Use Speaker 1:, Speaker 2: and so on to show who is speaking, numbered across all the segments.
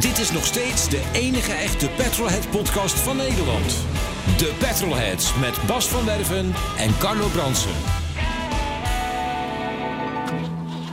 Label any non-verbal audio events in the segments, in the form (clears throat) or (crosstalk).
Speaker 1: Dit is nog steeds de enige echte Petrolhead-podcast van Nederland. De Petrolheads met Bas van Werven en Carlo Bransen.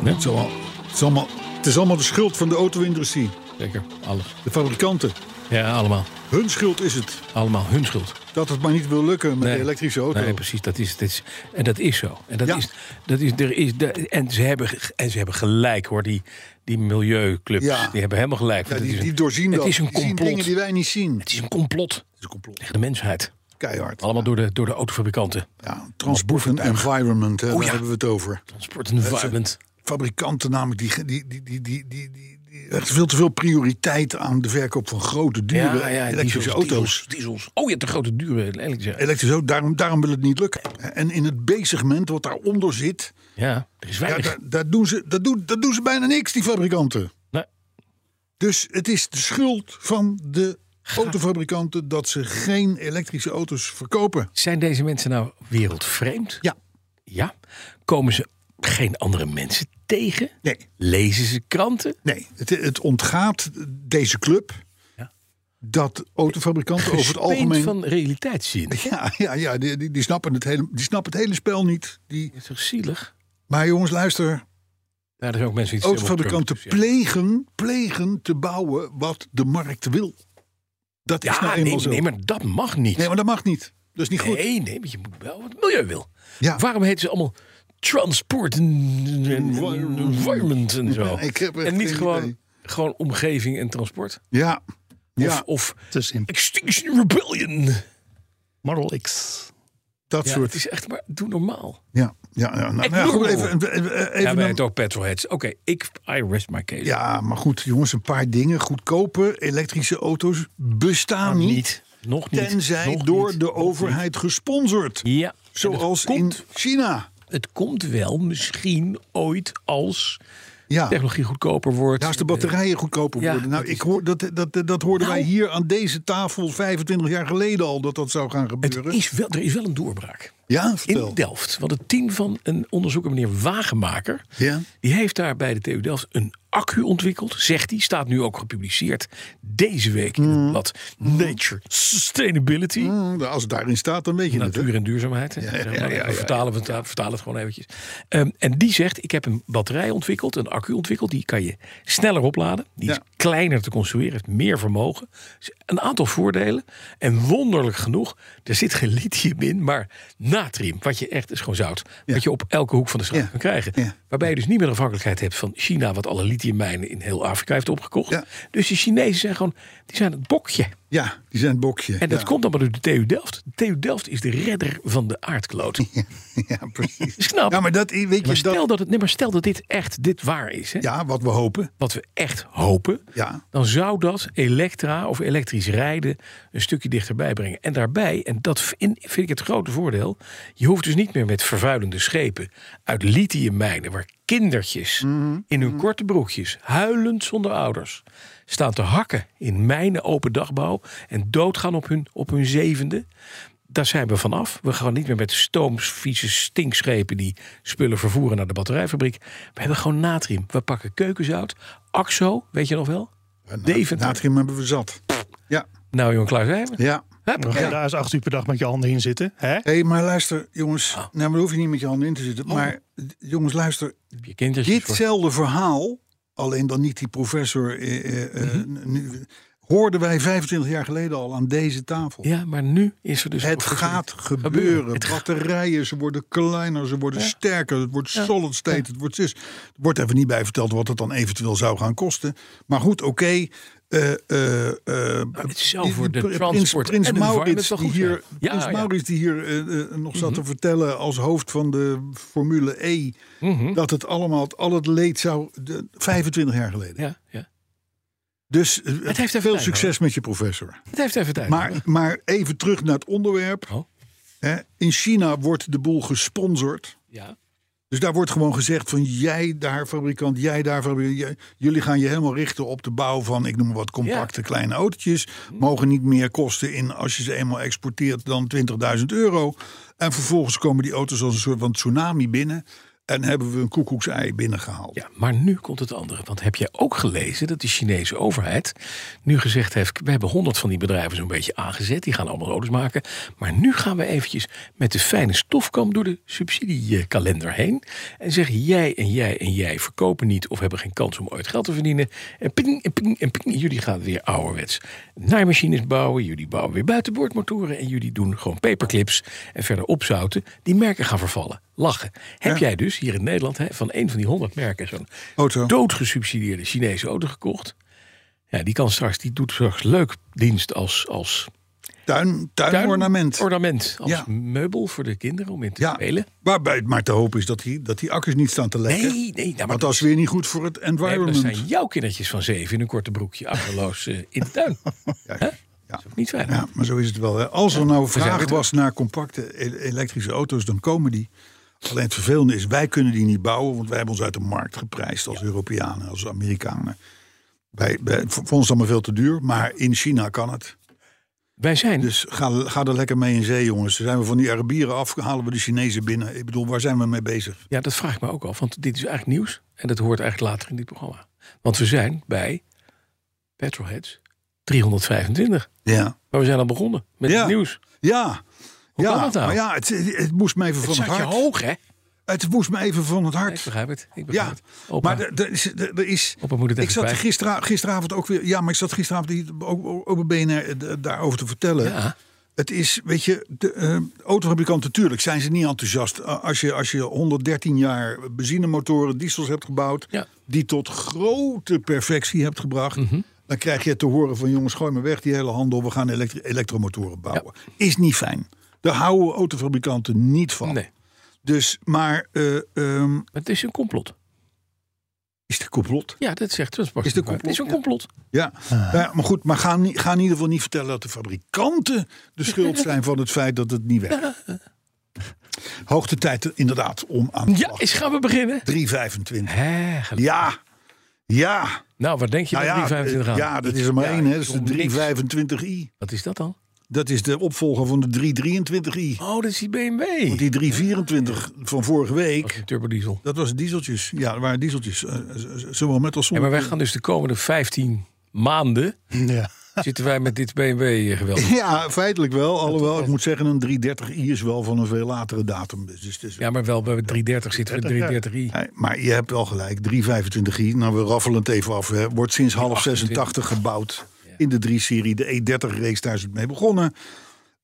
Speaker 2: Het, is allemaal, het, is allemaal, het is allemaal de schuld van de auto-industrie.
Speaker 3: Zeker, alles.
Speaker 2: De fabrikanten.
Speaker 3: Ja, allemaal.
Speaker 2: Hun schuld is het
Speaker 3: Allemaal hun schuld.
Speaker 2: dat het maar niet wil lukken met
Speaker 3: Nee.
Speaker 2: de elektrische auto.
Speaker 3: Nee, precies. Dat is, dat is, en dat is zo. En, dat
Speaker 2: Ja.
Speaker 3: is, dat is, er is, de- en, ze hebben, ge- en ze hebben gelijk, hoor. Die, die milieuclubs,
Speaker 2: Ja.
Speaker 3: die hebben helemaal gelijk.
Speaker 2: ja,
Speaker 3: want het
Speaker 2: die,
Speaker 3: is een-
Speaker 2: die doorzien
Speaker 3: het
Speaker 2: dat.
Speaker 3: Is een
Speaker 2: die zien
Speaker 3: complot.
Speaker 2: dingen die wij niet zien.
Speaker 3: Het is een complot
Speaker 2: Het is een complot.
Speaker 3: tegen de mensheid.
Speaker 2: Keihard.
Speaker 3: Allemaal door de, door de autofabrikanten.
Speaker 2: Ja, transport en environment, hè, daar
Speaker 3: Oh ja.
Speaker 2: hebben we het over.
Speaker 3: Transport en environment.
Speaker 2: Fabrikanten namelijk, die, die, die, die, die, die, die, die echt veel te veel prioriteit aan de verkoop van grote, dure elektrische
Speaker 3: diesels,
Speaker 2: auto's.
Speaker 3: diesels, diesels. Oh ja, de grote dure elektrische.
Speaker 2: Elektrisch auto, daarom, daarom wil het niet lukken. En in het B-segment, wat daaronder zit,
Speaker 3: Ja, er is
Speaker 2: ja,
Speaker 3: weinig.
Speaker 2: daar, daar doen ze, daar, doen, daar doen ze bijna niks, die fabrikanten.
Speaker 3: Nee.
Speaker 2: Dus het is de schuld van de autofabrikanten dat ze geen elektrische auto's verkopen.
Speaker 3: Zijn deze mensen nou wereldvreemd?
Speaker 2: Ja,
Speaker 3: Ja. Komen ze geen andere mensen tegen?
Speaker 2: nee.
Speaker 3: Lezen ze kranten?
Speaker 2: Nee, het, het ontgaat deze club
Speaker 3: Ja.
Speaker 2: dat autofabrikanten over het
Speaker 3: Gespeend
Speaker 2: algemeen...
Speaker 3: van realiteitzin.
Speaker 2: (laughs)
Speaker 3: Dat
Speaker 2: Ja, ja, ja die, die, die snappen het hele, die snappen het hele spel niet. Die,
Speaker 3: is toch zielig?
Speaker 2: maar jongens, luister.
Speaker 3: Ja, er zijn ook mensen die het
Speaker 2: Autofabrikanten
Speaker 3: helemaal terug-
Speaker 2: plegen, plegen te bouwen wat de markt wil. Dat is nou
Speaker 3: Ja,
Speaker 2: eenmaal
Speaker 3: nee,
Speaker 2: zo.
Speaker 3: nee, maar dat mag niet.
Speaker 2: Nee, maar dat mag niet. Dat is niet goed.
Speaker 3: Nee, nee, want je moet wel wat het milieu wil.
Speaker 2: Ja.
Speaker 3: Waarom heet ze allemaal transport en en- en environment en zo?
Speaker 2: Ja, ik heb echt
Speaker 3: en niet
Speaker 2: geen
Speaker 3: gewoon,
Speaker 2: idee.
Speaker 3: gewoon omgeving en transport?
Speaker 2: Ja. Ja,
Speaker 3: Of, of
Speaker 4: Te simpel.
Speaker 3: Extinction Rebellion.
Speaker 4: Model X.
Speaker 2: dat
Speaker 3: Ja,
Speaker 2: soort.
Speaker 3: het is echt maar, doe normaal.
Speaker 2: Ja, ja, ja. Nou,
Speaker 3: Ik
Speaker 2: nou ja,
Speaker 3: bedoel-
Speaker 2: goed, even, even, even-
Speaker 3: ja, wij
Speaker 2: dan-
Speaker 3: het ook petrolheads. Oké, ik, I rest my case.
Speaker 2: ja, maar goed, jongens, een paar dingen. Goedkope elektrische auto's bestaan
Speaker 3: Nou, niet.
Speaker 2: niet,
Speaker 3: Nog niet.
Speaker 2: Tenzij
Speaker 3: nog
Speaker 2: door
Speaker 3: niet,
Speaker 2: de
Speaker 3: nog
Speaker 2: overheid gesponsord.
Speaker 3: niet. Ja. en dat
Speaker 2: Zoals in
Speaker 3: komt
Speaker 2: China.
Speaker 3: Het komt wel misschien ooit als
Speaker 2: Ja.
Speaker 3: technologie goedkoper wordt.
Speaker 2: Daar is de batterijen goedkoper
Speaker 3: ja,
Speaker 2: worden. Nou,
Speaker 3: dat is
Speaker 2: ik hoor, dat, dat, dat hoorden wij
Speaker 3: Nou.
Speaker 2: hier aan deze tafel 25 jaar geleden al dat dat zou gaan
Speaker 3: Eh, Het
Speaker 2: gebeuren.
Speaker 3: is wel, er is wel een doorbraak.
Speaker 2: ja,
Speaker 3: In
Speaker 2: vertel.
Speaker 3: Delft. Want het team van een onderzoeker, meneer Wagenmaker.
Speaker 2: Ja.
Speaker 3: Die heeft daar bij de TU Delft een accu ontwikkeld. Zegt hij. Staat nu ook gepubliceerd. Deze week in het blad Nature Sustainability.
Speaker 2: Mm, Als het daarin staat, dan weet je het. hè?
Speaker 3: Natuur en duurzaamheid. hè. Zeg maar,
Speaker 2: ja, ja, ja,
Speaker 3: vertalen, we het- vertalen het gewoon eventjes. Ehm, en die zegt, ik heb een batterij ontwikkeld, een accu ontwikkeld. Die kan je sneller opladen. Die is
Speaker 2: Ja.
Speaker 3: kleiner te construeren, heeft meer vermogen. Dus een aantal voordelen. En wonderlijk genoeg, er zit geen lithium in, maar natrium. Wat je echt, is gewoon zout. Wat je op elke hoek van de straat
Speaker 2: Ja.
Speaker 3: kan krijgen.
Speaker 2: Ja.
Speaker 3: Waarbij je dus niet meer afhankelijkheid hebt van China... wat alle lithiummijnen in heel Afrika heeft opgekocht.
Speaker 2: Ja.
Speaker 3: Dus de Chinezen zijn gewoon, die zijn het bokje.
Speaker 2: Ja, die zijn het bokje.
Speaker 3: En dat
Speaker 2: ja.
Speaker 3: komt allemaal door de TU Delft. De TU Delft is de redder van
Speaker 2: (laughs)
Speaker 3: de aardkloot.
Speaker 2: (laughs) Ja, precies.
Speaker 3: Snap.
Speaker 2: Ja, maar dat weet
Speaker 3: Maar
Speaker 2: je dat.
Speaker 3: stel dat, het, nee, maar stel dat dit echt dit waar is, hè?
Speaker 2: Ja, wat we hopen.
Speaker 3: wat we echt hopen,
Speaker 2: Ja.
Speaker 3: dan zou dat elektra of elektrisch rijden een stukje dichterbij brengen. En daarbij, en dat vind vind ik het grote voordeel, je hoeft dus niet meer met vervuilende schepen uit lithiummijnen, waar kindertjes
Speaker 2: Mhm.
Speaker 3: in hun korte broekjes, huilend zonder ouders, staan te hakken in mijnen open dagbouw en doodgaan op hun, op hun zevende. Daar zijn we vanaf. We gaan niet meer met stoomvieze stinkschepen die spullen vervoeren naar de batterijfabriek. We hebben gewoon natrium. We pakken keukenzout. Axo, weet je nog wel? Deventer.
Speaker 2: Natrium hebben we zat. Ja,
Speaker 3: Nou, jongen, klaar zijn we.
Speaker 2: ja.
Speaker 3: Hup,
Speaker 4: Ga je
Speaker 3: ja.
Speaker 4: daar eens acht uur per dag met je handen in zitten. Hè?
Speaker 2: Hé, maar luister, jongens.
Speaker 3: Ah.
Speaker 2: Nou, maar hoef je niet met je handen in te zitten. Maar jongens, luister.
Speaker 3: Heb je kindertjes Oh. voor.
Speaker 2: Ditzelfde verhaal, alleen dan niet die professor, eh, eh, eh,
Speaker 3: Mhm.
Speaker 2: nu, hoorden wij 25 jaar geleden al aan deze tafel.
Speaker 3: Ja, maar nu is er dus...
Speaker 2: eh, Het gaat gebeuren.
Speaker 3: Het ga-
Speaker 2: Batterijen, ze worden kleiner, ze worden sterker. Het wordt solid state, het wordt zus. Er wordt even niet bij verteld wat het dan eventueel zou gaan kosten. Maar goed, oké. eh, eh, eh,
Speaker 3: het zou
Speaker 2: die-
Speaker 3: voor
Speaker 2: die
Speaker 3: de
Speaker 2: Prins-
Speaker 3: transport
Speaker 2: Prins
Speaker 3: en de environment
Speaker 2: Maurits,
Speaker 3: wel
Speaker 2: die
Speaker 3: goed
Speaker 2: hier,
Speaker 3: zijn. Ja,
Speaker 2: Prins
Speaker 3: ja. Mhm.
Speaker 2: Maurits die hier eh, eh, nog zat te vertellen als hoofd van de Formule E.
Speaker 3: Mhm.
Speaker 2: Dat het allemaal, al het leed zou... de- 25 jaar geleden.
Speaker 3: Ja, ja.
Speaker 2: Dus eh,
Speaker 3: heeft even
Speaker 2: veel
Speaker 3: tijd,
Speaker 2: succes met je professor.
Speaker 3: Het heeft even tijd.
Speaker 2: Maar, maar even terug naar het onderwerp.
Speaker 3: Oh.
Speaker 2: Hè, in China wordt de boel gesponsord.
Speaker 3: ja.
Speaker 2: Dus daar wordt gewoon gezegd van jij daar fabrikant, jij daar fabrikant. jij- jullie gaan je helemaal richten op de bouw van, ik noem maar wat, compacte kleine autootjes. Mogen niet meer kosten in, als je ze eenmaal exporteert, dan 20.000 euro. En vervolgens komen die auto's als een soort van tsunami binnen. En hebben we een koekoeksei binnengehaald.
Speaker 3: Ja, maar nu komt het andere. Want heb jij ook gelezen dat de Chinese overheid nu gezegd heeft... we hebben honderd van die bedrijven zo'n beetje aangezet. Die gaan allemaal auto's maken. Maar nu gaan we eventjes met de fijne stofkam door de subsidiekalender heen. En zeggen jij en jij en jij verkopen niet... of hebben geen kans om ooit geld te verdienen. En ping, en ping, en ping. Jullie gaan weer ouderwets naaimachines bouwen. Jullie bouwen weer buitenboordmotoren. En jullie doen gewoon paperclips. En verder opzouten. Die merken gaan vervallen. Lachen. Heb jij dus hier in Nederland hè, van een van die honderd merken... zo'n
Speaker 2: Auto.
Speaker 3: doodgesubsidieerde Chinese auto gekocht. Ja, die kan straks, die doet straks leuk dienst als, als
Speaker 2: Tuin,
Speaker 3: tuin-
Speaker 2: tuinornament.
Speaker 3: ornament, als
Speaker 2: Ja.
Speaker 3: meubel voor de kinderen om in te
Speaker 2: Ja,
Speaker 3: spelen.
Speaker 2: waarbij het maar te hopen is dat die, dat die akkers niet staan te lekken.
Speaker 3: Nee, nee, nou, maar
Speaker 2: Want dat is weer niet goed voor het
Speaker 3: nee, maar dat
Speaker 2: environment.
Speaker 3: zijn jouw kindertjes van zeven in een korte broekje, achterloos eh, in de
Speaker 2: (laughs)
Speaker 3: tuin. Hè? Dat is ook niet veilig.
Speaker 2: Ja, maar zo is het wel. Hè. Als er nou
Speaker 3: zijn
Speaker 2: vraag
Speaker 3: weer
Speaker 2: was naar compacte e- elektrische auto's, dan komen die. Alleen het vervelende is, wij kunnen die niet bouwen, want wij hebben ons uit de markt geprijsd als Europeanen, als Amerikanen. Wij, wij, voor voor ons allemaal veel te duur, maar in China kan het.
Speaker 3: Wij zijn,
Speaker 2: Dus ga, ga er lekker mee in zee, jongens. Dan Zijn we van die Arabieren af, halen we de Chinezen binnen. Ik bedoel, waar zijn we mee bezig?
Speaker 3: ja, dat vraag ik me ook af, want dit is eigenlijk nieuws en dat hoort eigenlijk later in dit programma. Want we zijn bij Petrolheads 325,
Speaker 2: Ja.
Speaker 3: maar we zijn al begonnen met
Speaker 2: Ja.
Speaker 3: het nieuws.
Speaker 2: Ja.
Speaker 3: Hoe
Speaker 2: ja,
Speaker 3: kan dat nou?
Speaker 2: Maar ja, het, het moest me even
Speaker 3: Het
Speaker 2: van
Speaker 3: zat
Speaker 2: het
Speaker 3: je
Speaker 2: hart.
Speaker 3: hoog, hè?
Speaker 2: Het moest me even van het
Speaker 3: Ik
Speaker 2: hart.
Speaker 3: begrijp het. Ik begrijp
Speaker 2: Ja,
Speaker 3: het. Opa,
Speaker 2: maar er- er is. er- er is
Speaker 3: opa moet het
Speaker 2: ik
Speaker 3: even
Speaker 2: zat
Speaker 3: kwijt.
Speaker 2: gistera- gisteravond ook weer. Ja, maar ik zat gisteravond hier ook, ook ook bij BNR eh, d- daarover te vertellen.
Speaker 3: Ja.
Speaker 2: Het is, weet je, de eh, autofabrikanten, natuurlijk zijn ze niet enthousiast. Eh, Als je, als je 113 jaar benzinemotoren, diesels hebt gebouwd,
Speaker 3: Ja. Mhm.
Speaker 2: die tot grote perfectie hebt gebracht, dan krijg je te horen van jongens, gooi me weg die hele handel, we gaan elektri- elektromotoren bouwen. Is niet fijn. Daar houden autofabrikanten niet van.
Speaker 3: Nee,
Speaker 2: Dus, maar eh, ehm,
Speaker 3: maar het is een complot.
Speaker 2: is het complot?
Speaker 3: Ja, dat zegt Transport.
Speaker 2: Is het een
Speaker 3: Het is een complot.
Speaker 2: Ja,
Speaker 3: Ah.
Speaker 2: ja, maar goed, maar ga, ni- ga in ieder geval niet vertellen dat de fabrikanten de
Speaker 3: (laughs)
Speaker 2: schuld zijn van het feit dat het niet werkt. Hoogte tijd eh, inderdaad om aan de
Speaker 3: Ja,
Speaker 2: slag.
Speaker 3: eens gaan we beginnen.
Speaker 2: 325.
Speaker 3: Hè, gelukkig.
Speaker 2: Ja, ja.
Speaker 3: Nou, waar denk je
Speaker 2: Nou
Speaker 3: bij
Speaker 2: ja,
Speaker 3: 325
Speaker 2: eh,
Speaker 3: aan?
Speaker 2: ja, dat is er maar
Speaker 3: Ja,
Speaker 2: één. Hè. Dat is
Speaker 3: om niks.
Speaker 2: de 325i.
Speaker 3: Wat is dat dan?
Speaker 2: Dat is de opvolger van de 323i.
Speaker 3: Oh, dat is die BMW.
Speaker 2: Want die 324 van vorige
Speaker 3: Dat is
Speaker 2: week,
Speaker 3: een turbodiesel.
Speaker 2: dat was dieseltjes. Ja, dat waren dieseltjes. eh, z- z- zowel met als
Speaker 3: Ja, maar
Speaker 2: zonder.
Speaker 3: wij gaan dus de komende 15
Speaker 2: (laughs)
Speaker 3: maanden...
Speaker 4: Ja.
Speaker 3: zitten wij met dit BMW-geweld.
Speaker 2: Ja, feitelijk wel. Alhoewel, ik moet zeggen, een 330i is wel van een veel latere datum. Dus het is
Speaker 3: Ja, maar wel bij 330 zitten we 330i.
Speaker 2: Hey, maar je hebt wel gelijk, 325i, nou we raffelen het even af, hè, wordt sinds half 86 gebouwd in de 3-serie. De E30 race daar is het mee begonnen.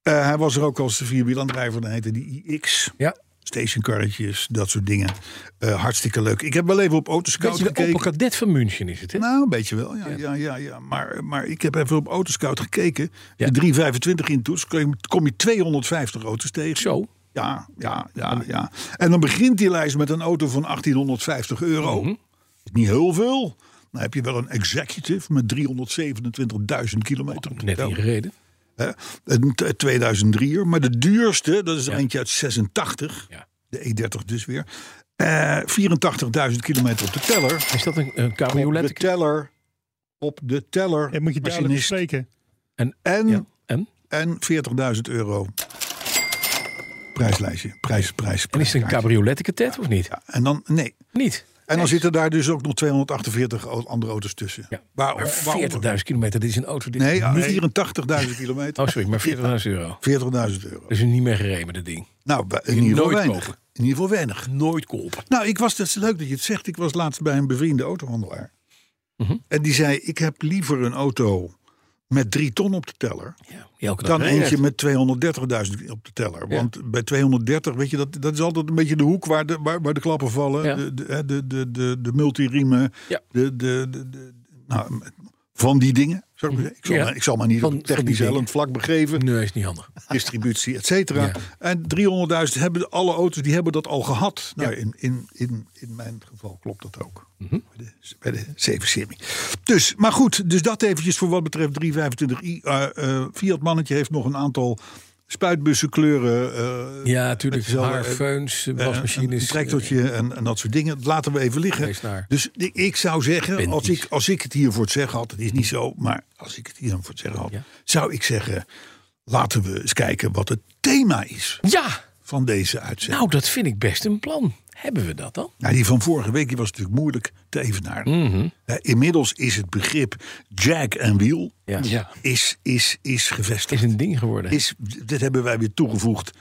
Speaker 2: Eh, hij was er ook als de vierwielaandrijver, dan heette die iX.
Speaker 3: Ja.
Speaker 2: Stationkarretjes, dat soort dingen. Eh, hartstikke leuk. Ik heb wel even op Autoscout
Speaker 3: Beetje de
Speaker 2: gekeken.
Speaker 3: Opel Kadett van München is het, hè?
Speaker 2: Nou, een beetje wel, ja. ja. ja, ja, Maar, maar ik heb even op Autoscout gekeken.
Speaker 3: Ja.
Speaker 2: De 325 in toets, kom je 250 auto's tegen.
Speaker 3: Zo.
Speaker 2: Ja, ja, ja, ja. En dan begint die lijst met een auto van 1850 euro.
Speaker 3: Mhm.
Speaker 2: Is Niet heel veel. Dan heb je wel een executive met 327.000 kilometer. op de
Speaker 3: Oh, Net
Speaker 2: tel,
Speaker 3: ingereden.
Speaker 2: hè. Een t- 2003er. Maar de duurste, dat is er eentje uit 86.
Speaker 3: Ja.
Speaker 2: De E30 dus weer. Eh, 84.000 kilometer op de teller.
Speaker 3: Is dat een, een
Speaker 2: Op de
Speaker 3: cabriolet?
Speaker 2: teller. Op de teller.
Speaker 4: Dat moet je duidelijk
Speaker 2: machinist.
Speaker 4: spreken.
Speaker 2: En,
Speaker 3: Ja. En?
Speaker 2: en 40.000 euro. Prijslijstje. Prijs, prijs,
Speaker 3: En is het een
Speaker 2: prijskaartje.
Speaker 3: cabriolet of niet?
Speaker 2: En dan, nee.
Speaker 3: Niet.
Speaker 2: En dan zitten daar dus ook nog 248 o- andere auto's tussen.
Speaker 3: Ja.
Speaker 2: Waar,
Speaker 3: Maar
Speaker 2: waaronder-
Speaker 3: 40.000 kilometer, dit is een auto. Dit
Speaker 2: Nee,
Speaker 3: is niet-
Speaker 2: 84.000 kilometer.
Speaker 3: Oh, sorry, maar 40.000 euro.
Speaker 2: 40.000 euro.
Speaker 3: Dat is niet meer geremende ding.
Speaker 2: Nou, bij- in ieder geval
Speaker 3: nooit
Speaker 2: weinig.
Speaker 3: kopen.
Speaker 2: In ieder geval weinig.
Speaker 3: Nooit kopen.
Speaker 2: Nou, ik was, dat is leuk dat je het zegt. Ik was laatst bij een bevriende autohandelaar.
Speaker 3: Mhm.
Speaker 2: En die zei, ik heb liever een auto met drie ton op de teller...
Speaker 3: Ja, die elke dag
Speaker 2: dan
Speaker 3: rijden.
Speaker 2: eentje met 230.000 op de teller. Want bij 230, weet je, dat, dat is altijd een beetje de hoek waar de, waar, waar de klappen vallen.
Speaker 3: Ja.
Speaker 2: De, de, hè, de, de, de, de multiriemen,
Speaker 3: Ja.
Speaker 2: de, de, de, de- nou, van die dingen. Zal ik, maar zeggen. ik, zal,
Speaker 3: Mhm. Ja.
Speaker 2: maar, ik zal maar niet op
Speaker 3: Van- van
Speaker 2: het
Speaker 3: die
Speaker 2: technisch
Speaker 3: dingen.
Speaker 2: hellend vlak begeven.
Speaker 3: Nee, is niet handig.
Speaker 2: (laughs) distributie, et cetera.
Speaker 3: Ja.
Speaker 2: En 300.000 hebben alle auto's die hebben dat al gehad. Nou, in, in, in, in mijn geval klopt dat ook. Bij de- Bij de 7 serie. Dus, maar goed, dus dat eventjes voor wat betreft 325i. Eh, eh, Fiat mannetje heeft nog een aantal spuitbussen kleuren. eh,
Speaker 3: Ja, natuurlijk.
Speaker 2: met dezelfde-
Speaker 3: Haar, feuns, eh,
Speaker 2: eh,
Speaker 3: wasmachines.
Speaker 2: Een trektortje en, en dat soort dingen. Dat laten we even
Speaker 3: eh, Wees naar.
Speaker 2: liggen. Dus i- ik zou zeggen,
Speaker 3: Bentley's.
Speaker 2: als ik, als ik het hier voor het zeggen had, het is niet zo, maar als ik het hier voor het zeggen had,
Speaker 3: Ja.
Speaker 2: zou ik zeggen, laten we eens kijken wat het thema is
Speaker 3: Ja,
Speaker 2: van deze uitzending. Nou,
Speaker 3: nou, dat vind ik best een plan. Hebben we dat dan?
Speaker 2: die van vorige week die was natuurlijk moeilijk te evenaren.
Speaker 3: Mhm.
Speaker 2: Eh, Inmiddels is het begrip jack en wheel
Speaker 3: Ja. Ja.
Speaker 2: Is, is, is
Speaker 3: Is
Speaker 2: gevestigd.
Speaker 3: een ding geworden.
Speaker 2: Is, dit hebben wij weer toegevoegd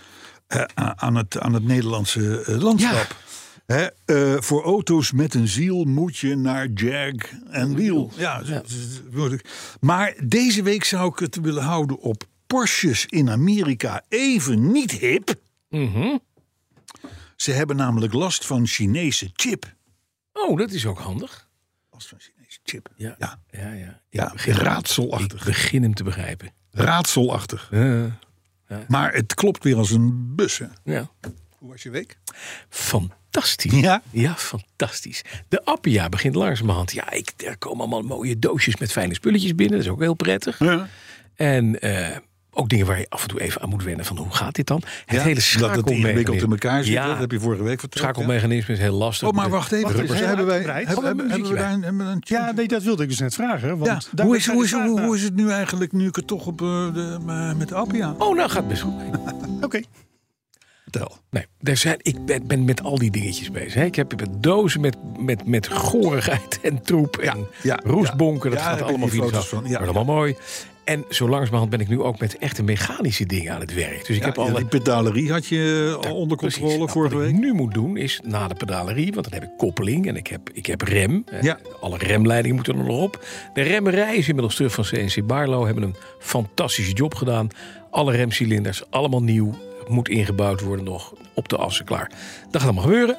Speaker 2: eh, a- aan, het, aan het Nederlandse eh, landschap. Hè, eh, voor auto's met een ziel moet je naar Jag en Wiel. Ja, dus, z- z- moeilijk. Maar deze week zou ik het willen houden op Porsches in Amerika even niet hip. Ze hebben namelijk last van Chinese chip.
Speaker 3: Oh, dat is ook handig.
Speaker 2: Last van Chinese chip.
Speaker 3: Ja.
Speaker 2: ja,
Speaker 3: Ja, ja.
Speaker 2: ja, raadselachtig.
Speaker 3: Begin hem te begrijpen.
Speaker 2: Raadselachtig.
Speaker 3: Eh,
Speaker 2: Maar het klopt weer als een bussen.
Speaker 3: ja.
Speaker 2: Hoe was je week?
Speaker 3: Fantastisch.
Speaker 2: Ja?
Speaker 3: Ja, fantastisch. De Appia begint langzamerhand. Ja, ik, er komen allemaal mooie doosjes met fijne spulletjes binnen. Dat is ook heel prettig.
Speaker 2: Ja.
Speaker 3: En eh, ook dingen waar je af en toe even aan moet wennen van hoe gaat dit dan? Het
Speaker 2: Ja,
Speaker 3: hele
Speaker 2: dat het ingewikkeld in
Speaker 3: schakelmechanisme.
Speaker 2: elkaar zit.
Speaker 3: Ja.
Speaker 2: Dat heb je vorige week verteld.
Speaker 3: Schakelmechanisme is heel lastig.
Speaker 2: ja. Oh, maar wacht even.
Speaker 4: Wacht, is heel
Speaker 2: hebben wij
Speaker 4: uitgebreid.
Speaker 2: hebben, hebben,
Speaker 3: Hadden we een
Speaker 2: hebben we
Speaker 3: muziekje
Speaker 2: daar een, hebben we een
Speaker 4: Ja, nee, dat wilde ik dus net vragen. Want
Speaker 2: Ja,
Speaker 4: daar
Speaker 2: Hoe,
Speaker 4: werd
Speaker 2: is,
Speaker 4: mij
Speaker 2: hoe,
Speaker 4: de
Speaker 2: is,
Speaker 4: vraag
Speaker 2: hoe,
Speaker 4: naar-
Speaker 2: hoe is het nu eigenlijk, nu ik het toch op, eh, de, eh, met de Appia?
Speaker 3: Oh, nou gaat best goed. mee.
Speaker 4: Oké.
Speaker 2: Vertel.
Speaker 3: Nee, er zijn, ik ben, ben met al die dingetjes bezig. Hè. Ik heb met dozen met, met, met gorigheid en troep en
Speaker 2: ja,
Speaker 3: roestbonken.
Speaker 2: ja.
Speaker 3: Dat
Speaker 2: Ja,
Speaker 3: gaat
Speaker 2: daar
Speaker 3: allemaal
Speaker 2: heb je
Speaker 3: via de
Speaker 2: foto's
Speaker 3: zak.
Speaker 2: van, ja.
Speaker 3: Maar allemaal mooi. En zo langzamerhand ben ik nu ook met echte mechanische dingen aan het werk. Dus ik
Speaker 2: Ja,
Speaker 3: heb
Speaker 2: ja,
Speaker 3: alle...
Speaker 2: Die pedalerie had je al onder
Speaker 3: Precies.
Speaker 2: controle
Speaker 3: Nou,
Speaker 2: vorige
Speaker 3: wat
Speaker 2: week.
Speaker 3: ik nu moet doen is na de pedalerie, want dan heb ik koppeling en ik heb, ik heb rem. Eh,
Speaker 2: Ja.
Speaker 3: Alle remleidingen moeten er nog op. De remmerij is inmiddels terug van CNC Barlo. Hebben een fantastische job gedaan. Alle remcilinders, allemaal nieuw. Moet ingebouwd worden nog op de assen klaar. Dat gaat allemaal gebeuren.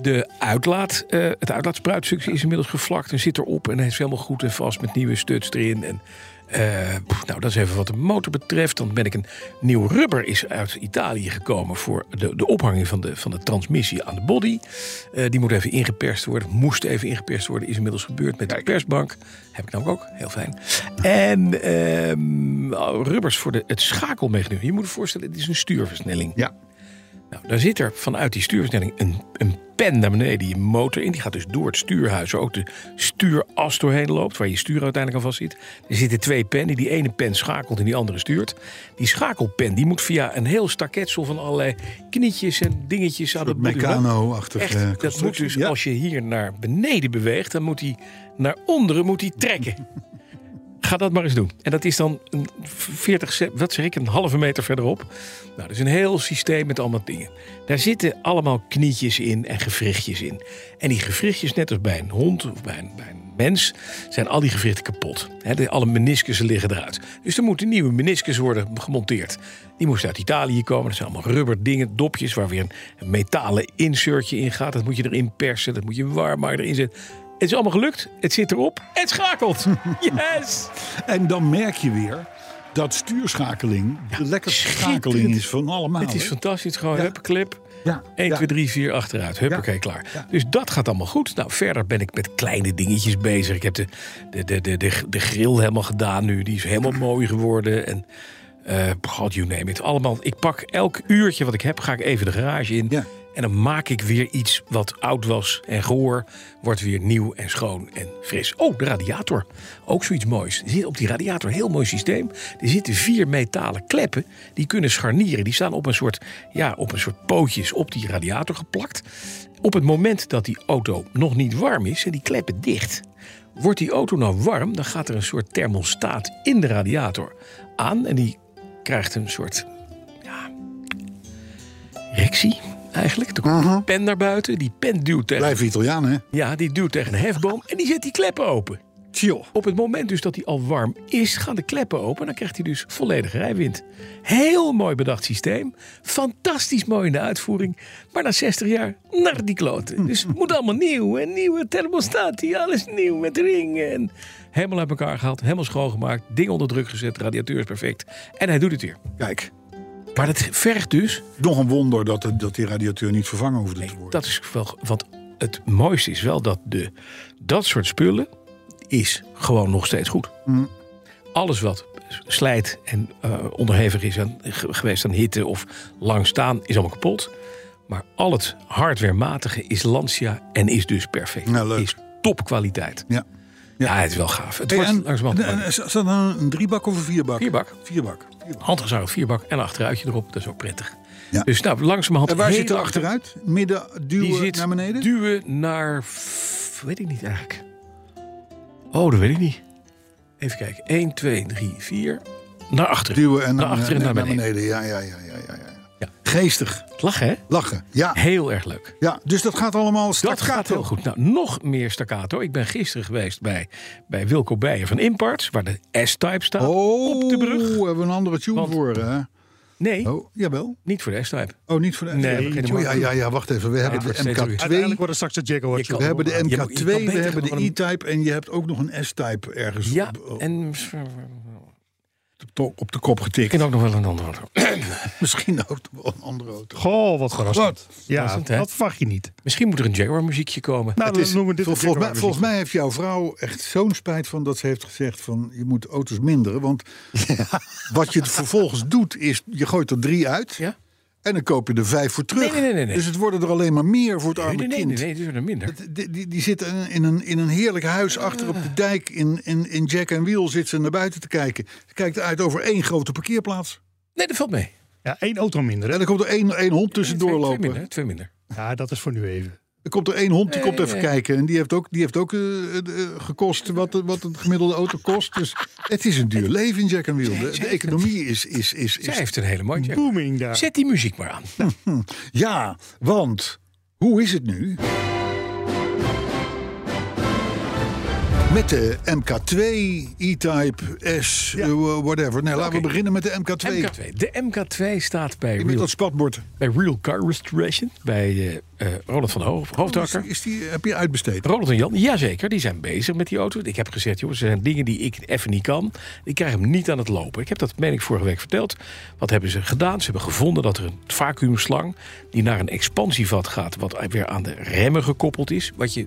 Speaker 3: De uitlaat, eh, het uitlaatspruitstukje is inmiddels gevlakt en zit erop. En hij is helemaal goed en vast met nieuwe studs erin. En, eh, pff, nou, dat is even wat de motor betreft. Dan ben ik een nieuw rubber is uit Italië gekomen voor de, de ophanging van de, van de transmissie aan de body. Eh, die moet even ingeperst worden. Moest even ingeperst worden. Is inmiddels gebeurd met de persbank. Heb ik nou ook. Heel fijn. En ehm, rubbers voor de, het schakelmechanisme. Je moet je voorstellen, het is een stuurversnelling.
Speaker 2: Ja.
Speaker 3: Nou, daar zit er vanuit die stuurversnelling een, een pen naar beneden, die je motor in. Die gaat dus door het stuurhuis, waar ook de stuuras doorheen loopt, waar je stuur uiteindelijk aan vast zit. Er zitten twee pennen, die ene pen schakelt en die andere stuurt. Die schakelpen die moet via een heel staketsel van allerlei knietjes en dingetjes aan de body-
Speaker 2: mecano-achtige
Speaker 3: Echt, Dat moet
Speaker 2: constructie,
Speaker 3: dus,
Speaker 2: ja.
Speaker 3: als je hier naar beneden beweegt, dan moet hij naar onderen moet hij trekken. Ga dat maar eens doen. En dat is dan een 40, ce- wat zeg ik, een halve meter verderop. Nou, dat is een heel systeem met allemaal dingen. Daar zitten allemaal knietjes in en gewrichtjes in. En die gewrichtjes, net als bij een hond of bij een, bij een mens, zijn al die gewrichten kapot. Hè, de, alle meniscussen liggen eruit. Dus er moeten nieuwe meniscus worden gemonteerd. Die moesten uit Italië komen. Dat zijn allemaal rubber dingen, dopjes waar weer een, een metalen insertje in gaat. Dat moet je erin persen, dat moet je warm maar erin zetten. Het is allemaal gelukt, het zit erop, het
Speaker 2: (laughs)
Speaker 3: schakelt. Yes!
Speaker 2: En dan merk je weer dat stuurschakeling de lekkerste
Speaker 3: schitterend.
Speaker 2: schakeling is van allemaal.
Speaker 3: Het is
Speaker 2: hè?
Speaker 3: fantastisch. Gewoon
Speaker 2: Ja.
Speaker 3: hup, clip.
Speaker 2: Ja,
Speaker 3: 1,
Speaker 2: ja.
Speaker 3: 2, 3, 4 achteruit. Huppakee,
Speaker 2: Ja.
Speaker 3: klaar.
Speaker 2: Ja.
Speaker 3: Dus dat gaat allemaal goed. Nou, verder ben ik met kleine dingetjes bezig. Ik heb de, de, de, de, de, de grill helemaal gedaan nu. Die is helemaal mooi geworden. En eh god, you name it. Allemaal, ik pak elk uurtje wat ik heb, ga ik even de garage in.
Speaker 2: Ja.
Speaker 3: En dan maak ik weer iets wat oud was en gehoor. Wordt weer nieuw en schoon en fris. Oh, de radiator. Ook zoiets moois. Er zit op die radiator een heel mooi systeem. Er zitten vier metalen kleppen. Die kunnen scharnieren. Die staan op een soort, ja, op een soort pootjes op die radiator geplakt. Op het moment dat die auto nog niet warm is, zijn die kleppen dicht. Wordt die auto nou warm, dan gaat er een soort thermostaat in de radiator aan. En die krijgt een soort rectie eigenlijk. Er komt een pen naar buiten. Die pen duwt tegen,
Speaker 2: Blijven Italiaan, hè?
Speaker 3: ja, die duwt tegen een hefboom en die zet die kleppen open.
Speaker 2: Tjoh.
Speaker 3: Op het moment dus dat hij al warm is, gaan de kleppen open. En dan krijgt hij dus volledige rijwind. Heel mooi bedacht systeem. Fantastisch mooi in de uitvoering. Maar na 60 jaar, naar die
Speaker 2: (laughs)
Speaker 3: kloten. Dus het moet allemaal nieuw. En nieuwe thermostaat, die alles nieuw met ringen. En helemaal uit elkaar gehaald, helemaal schoongemaakt. Ding onder druk gezet, radiateur is perfect. En hij doet het weer.
Speaker 2: Kijk,
Speaker 3: Maar dat vergt dus
Speaker 2: nog een wonder dat, het- dat die radiateur niet vervangen hoefde te worden.
Speaker 3: dat is wel, want het mooiste is wel dat de, dat soort spullen is gewoon nog steeds goed.
Speaker 2: Mm.
Speaker 3: Alles wat slijt en eh, onderhevig is aan, ge- geweest aan hitte of lang staan, is allemaal kapot. Maar al het hardwarematige is Lancia en is dus perfect.
Speaker 2: Ja, Nou, leuk.
Speaker 3: Is topkwaliteit.
Speaker 2: Ja.
Speaker 3: Ja. het is wel gaaf. Het
Speaker 2: Hey,
Speaker 3: wordt
Speaker 2: en-
Speaker 3: langzamerhand
Speaker 2: en- en- Zat er nou een driebak of een vierbak?
Speaker 3: Vierbak. Oh,
Speaker 2: Vierbak. vierbak.
Speaker 3: handgezaagd vierbak en een achteruitje erop. Dat is ook prettig.
Speaker 2: Ja.
Speaker 3: Dus nou, langzamerhand...
Speaker 2: En waar
Speaker 3: heel
Speaker 2: zit er
Speaker 3: lang-
Speaker 2: achteruit? Midden duwen
Speaker 3: Die zit
Speaker 2: naar beneden?
Speaker 3: duwen naar... f- Weet ik niet eigenlijk. Oh, dat weet ik niet. Even kijken. 1, 2, 3, 4. Naar achteren.
Speaker 2: duwen en eh,
Speaker 3: naar
Speaker 2: naar,
Speaker 3: achteren en naar beneden.
Speaker 2: Ja, ja, ja, ja, ja, ja.
Speaker 3: Ja.
Speaker 2: Geestig.
Speaker 3: Lachen, hè?
Speaker 2: Lachen. Ja.
Speaker 3: Heel erg leuk.
Speaker 2: ja. Dus dat gaat allemaal
Speaker 3: Dat
Speaker 2: staccato.
Speaker 3: gaat heel goed. Nou, nog meer staccato. Ik ben gisteren geweest bij, bij Wilco Beijer van Imparts, waar de S-Type staat.
Speaker 2: Oh,
Speaker 3: op de brug.
Speaker 2: hebben we een andere tune
Speaker 3: Want-
Speaker 2: voor, hè?
Speaker 3: Nee,
Speaker 2: Oh, jawel.
Speaker 3: niet voor de S-Type.
Speaker 2: Oh, niet voor de
Speaker 3: Nee,
Speaker 2: MK2.
Speaker 3: we beginnen
Speaker 2: Oh, ja,
Speaker 3: maar.
Speaker 2: ja, ja, wacht even. We hebben
Speaker 3: wordt
Speaker 2: de
Speaker 3: steeds
Speaker 2: MK2.
Speaker 3: drukker.
Speaker 4: Uiteindelijk wordt het straks de Jaguar.
Speaker 3: Je kan-
Speaker 2: We hebben de
Speaker 3: Je moet- je
Speaker 2: MK2,
Speaker 3: kan beter
Speaker 2: we hebben de
Speaker 3: gewoon een-
Speaker 2: E-Type en je hebt ook nog een S-Type ergens
Speaker 3: Ja,
Speaker 2: op, op,
Speaker 3: en
Speaker 2: de to- op de kop
Speaker 3: ik
Speaker 2: getikt.
Speaker 3: ken ook nog wel een ander.
Speaker 2: (laughs) Misschien ook nog wel een andere auto.
Speaker 4: Goh, wat verrassend.
Speaker 2: Wat?
Speaker 4: Ja,
Speaker 3: Verrassend, hè?
Speaker 4: dat verwacht je niet.
Speaker 3: (clears throat) Misschien moet er een Jaguar muziekje komen.
Speaker 4: Nou,
Speaker 2: Het is-
Speaker 4: dan noemen we dit
Speaker 2: vol-
Speaker 4: de
Speaker 2: volgens, mij,
Speaker 4: Jaguar
Speaker 2: volgens mij heeft jouw vrouw echt zo'n spijt van dat ze heeft gezegd van je moet auto's minderen.
Speaker 3: (laughs)
Speaker 2: Want wat je vervolgens doet is je gooit er drie uit
Speaker 3: Ja?
Speaker 2: en dan koop je er vijf voor terug.
Speaker 3: Nee, nee, nee, nee.
Speaker 2: Dus het worden er alleen maar meer voor het
Speaker 3: Nee,
Speaker 2: arme
Speaker 3: nee, nee,
Speaker 2: kind.
Speaker 3: nee, nee, het is er minder.
Speaker 2: Die, die, die zitten in- in een, in een heerlijk huis achter op de dijk in, in, in Jack en Wheel zitten ze naar buiten te kijken. Ze kijkt uit over één grote parkeerplaats.
Speaker 3: Nee, dat valt mee.
Speaker 4: muziek. Ja, één auto minder.
Speaker 2: En
Speaker 4: Hè?
Speaker 2: dan komt er één, één hond tussendoor
Speaker 3: Twee-
Speaker 2: lopen.
Speaker 3: Twee minder, twee minder.
Speaker 4: Ja, dat is voor nu even.
Speaker 2: Er komt er één hond, die komt
Speaker 3: Nee,
Speaker 2: even
Speaker 3: nee.
Speaker 2: kijken. En die heeft ook, die heeft ook eh, eh, eh, gekost wat, de- wat een gemiddelde auto kost. Dus het is een duur leven in Jack and Wheel. De, de economie is... is, is,
Speaker 3: Zij
Speaker 2: is,
Speaker 3: heeft een hele mooie Jaguar.
Speaker 4: Booming daar.
Speaker 3: Zet die muziek maar aan.
Speaker 2: Ja, want hoe is het nu? Met de MK2, E-Type, S, eh, whatever. Nee, laten we
Speaker 3: Oké.
Speaker 2: beginnen met de MK2.
Speaker 3: MK2. De MK2 staat bij
Speaker 2: Met
Speaker 3: Real,
Speaker 2: dat spatbord.
Speaker 3: bij Real Car Restoration. Bij eh, eh, Roland van Hoof,
Speaker 2: Is,
Speaker 3: Hoofdakker.
Speaker 2: is die, heb je uitbesteed?
Speaker 3: Roland en Jan, jazeker, die zijn bezig met die auto. Ik heb gezegd, jongens, er zijn dingen die ik even niet kan. Ik krijg hem niet aan het lopen. Ik heb dat, meen ik, vorige week verteld. Wat hebben ze gedaan? Ze hebben gevonden dat er een vacuümslang... die naar een expansievat gaat, wat weer aan de remmen gekoppeld is. Wat je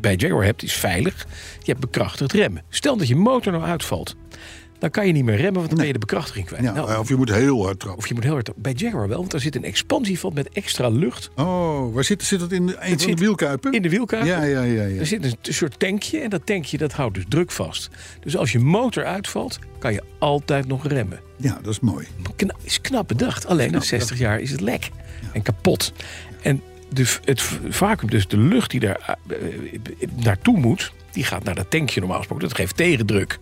Speaker 3: bij Jaguar hebt, is veilig. Je hebt bekrachtigd remmen. Stel dat je motor nou uitvalt. Dan kan je niet meer remmen, want dan ben je de bekrachtiging kwijt.
Speaker 2: Ja,
Speaker 3: Nou,
Speaker 2: eh, of je moet heel hard trappen.
Speaker 3: Of je moet heel hard... Bij Jaguar wel, want daar zit een expansievat met extra lucht
Speaker 2: Oh, waar zit, zit dat in? de- Een van
Speaker 3: zit
Speaker 2: de wielkuipen?
Speaker 3: in de wielkuip.
Speaker 2: Ja, ja, ja.
Speaker 3: Er
Speaker 2: ja.
Speaker 3: zit een t- soort tankje en dat tankje dat houdt dus druk vast. Dus als je motor uitvalt, kan je altijd nog remmen.
Speaker 2: Ja, dat is mooi.
Speaker 3: Kna is knap bedacht. Alleen na 60 jaar is het lek en kapot. En de, v- het v- vacuüm, dus de lucht die daar eh, eh, naartoe moet... die gaat naar dat tankje normaal gesproken. Dat geeft tegendruk.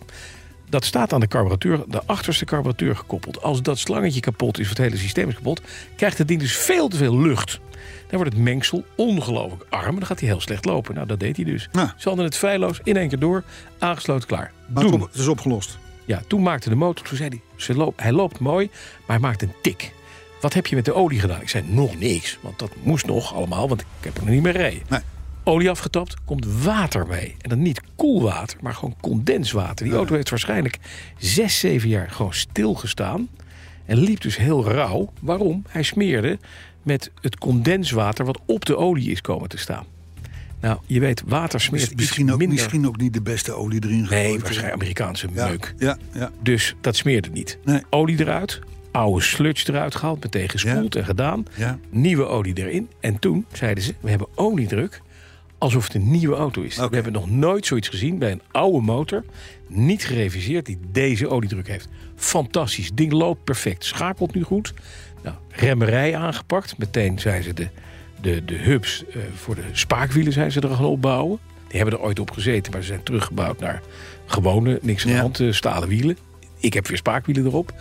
Speaker 3: Dat staat aan de carburateur, de achterste carburateur gekoppeld. Als dat slangetje kapot is, of het hele systeem is kapot... krijgt het ding dus veel te veel lucht. Dan wordt het mengsel ongelooflijk arm en dan gaat hij heel slecht lopen. Nou, dat deed hij dus.
Speaker 2: Ja.
Speaker 3: Ze hadden het feilloos in één keer door, aangesloten, klaar.
Speaker 2: Maar
Speaker 3: Doen.
Speaker 2: het op- het is opgelost.
Speaker 3: Ja, toen maakte de motor, toen zei hij, ze loopt, hij loopt mooi, maar hij maakt een tik. Wat heb je met de olie gedaan? Ik zei, nog niks, want dat moest nog allemaal, want ik heb er nog niet meer rijden.
Speaker 2: Nee.
Speaker 3: Olie afgetapt, komt water mee. En dan niet koelwater, maar gewoon condenswater. Die auto heeft waarschijnlijk zes, zeven jaar gewoon stilgestaan. En liep dus heel rauw. Waarom? Hij smeerde met het condenswater wat op de olie is komen te staan. Nou, je weet, water smeert
Speaker 2: Is
Speaker 3: iets
Speaker 2: misschien, ook,
Speaker 3: minder.
Speaker 2: misschien ook niet de beste olie erin gegooid.
Speaker 3: Nee, waarschijnlijk Amerikaanse
Speaker 2: Ja,
Speaker 3: meuk.
Speaker 2: Ja, ja.
Speaker 3: Dus dat smeerde niet.
Speaker 2: Nee.
Speaker 3: Olie eruit, oude sludge eruit gehaald, meteen gespoeld en gedaan.
Speaker 2: Ja.
Speaker 3: Nieuwe olie erin. En toen zeiden ze, we hebben oliedruk alsof het een nieuwe auto is.
Speaker 2: Oké.
Speaker 3: We hebben nog nooit zoiets gezien bij een oude motor. Niet gereviseerd, die deze oliedruk heeft. Fantastisch, ding loopt perfect, schakelt nu goed. Nou, remmerij aangepakt. Meteen zijn ze de, de, de hubs eh, voor de spaakwielen zijn ze er gaan opbouwen. Die hebben er ooit op gezeten, maar ze zijn teruggebouwd naar gewone, niks aan de
Speaker 2: Ja.
Speaker 3: hand, eh, stalen wielen. Ik heb weer spaakwielen erop.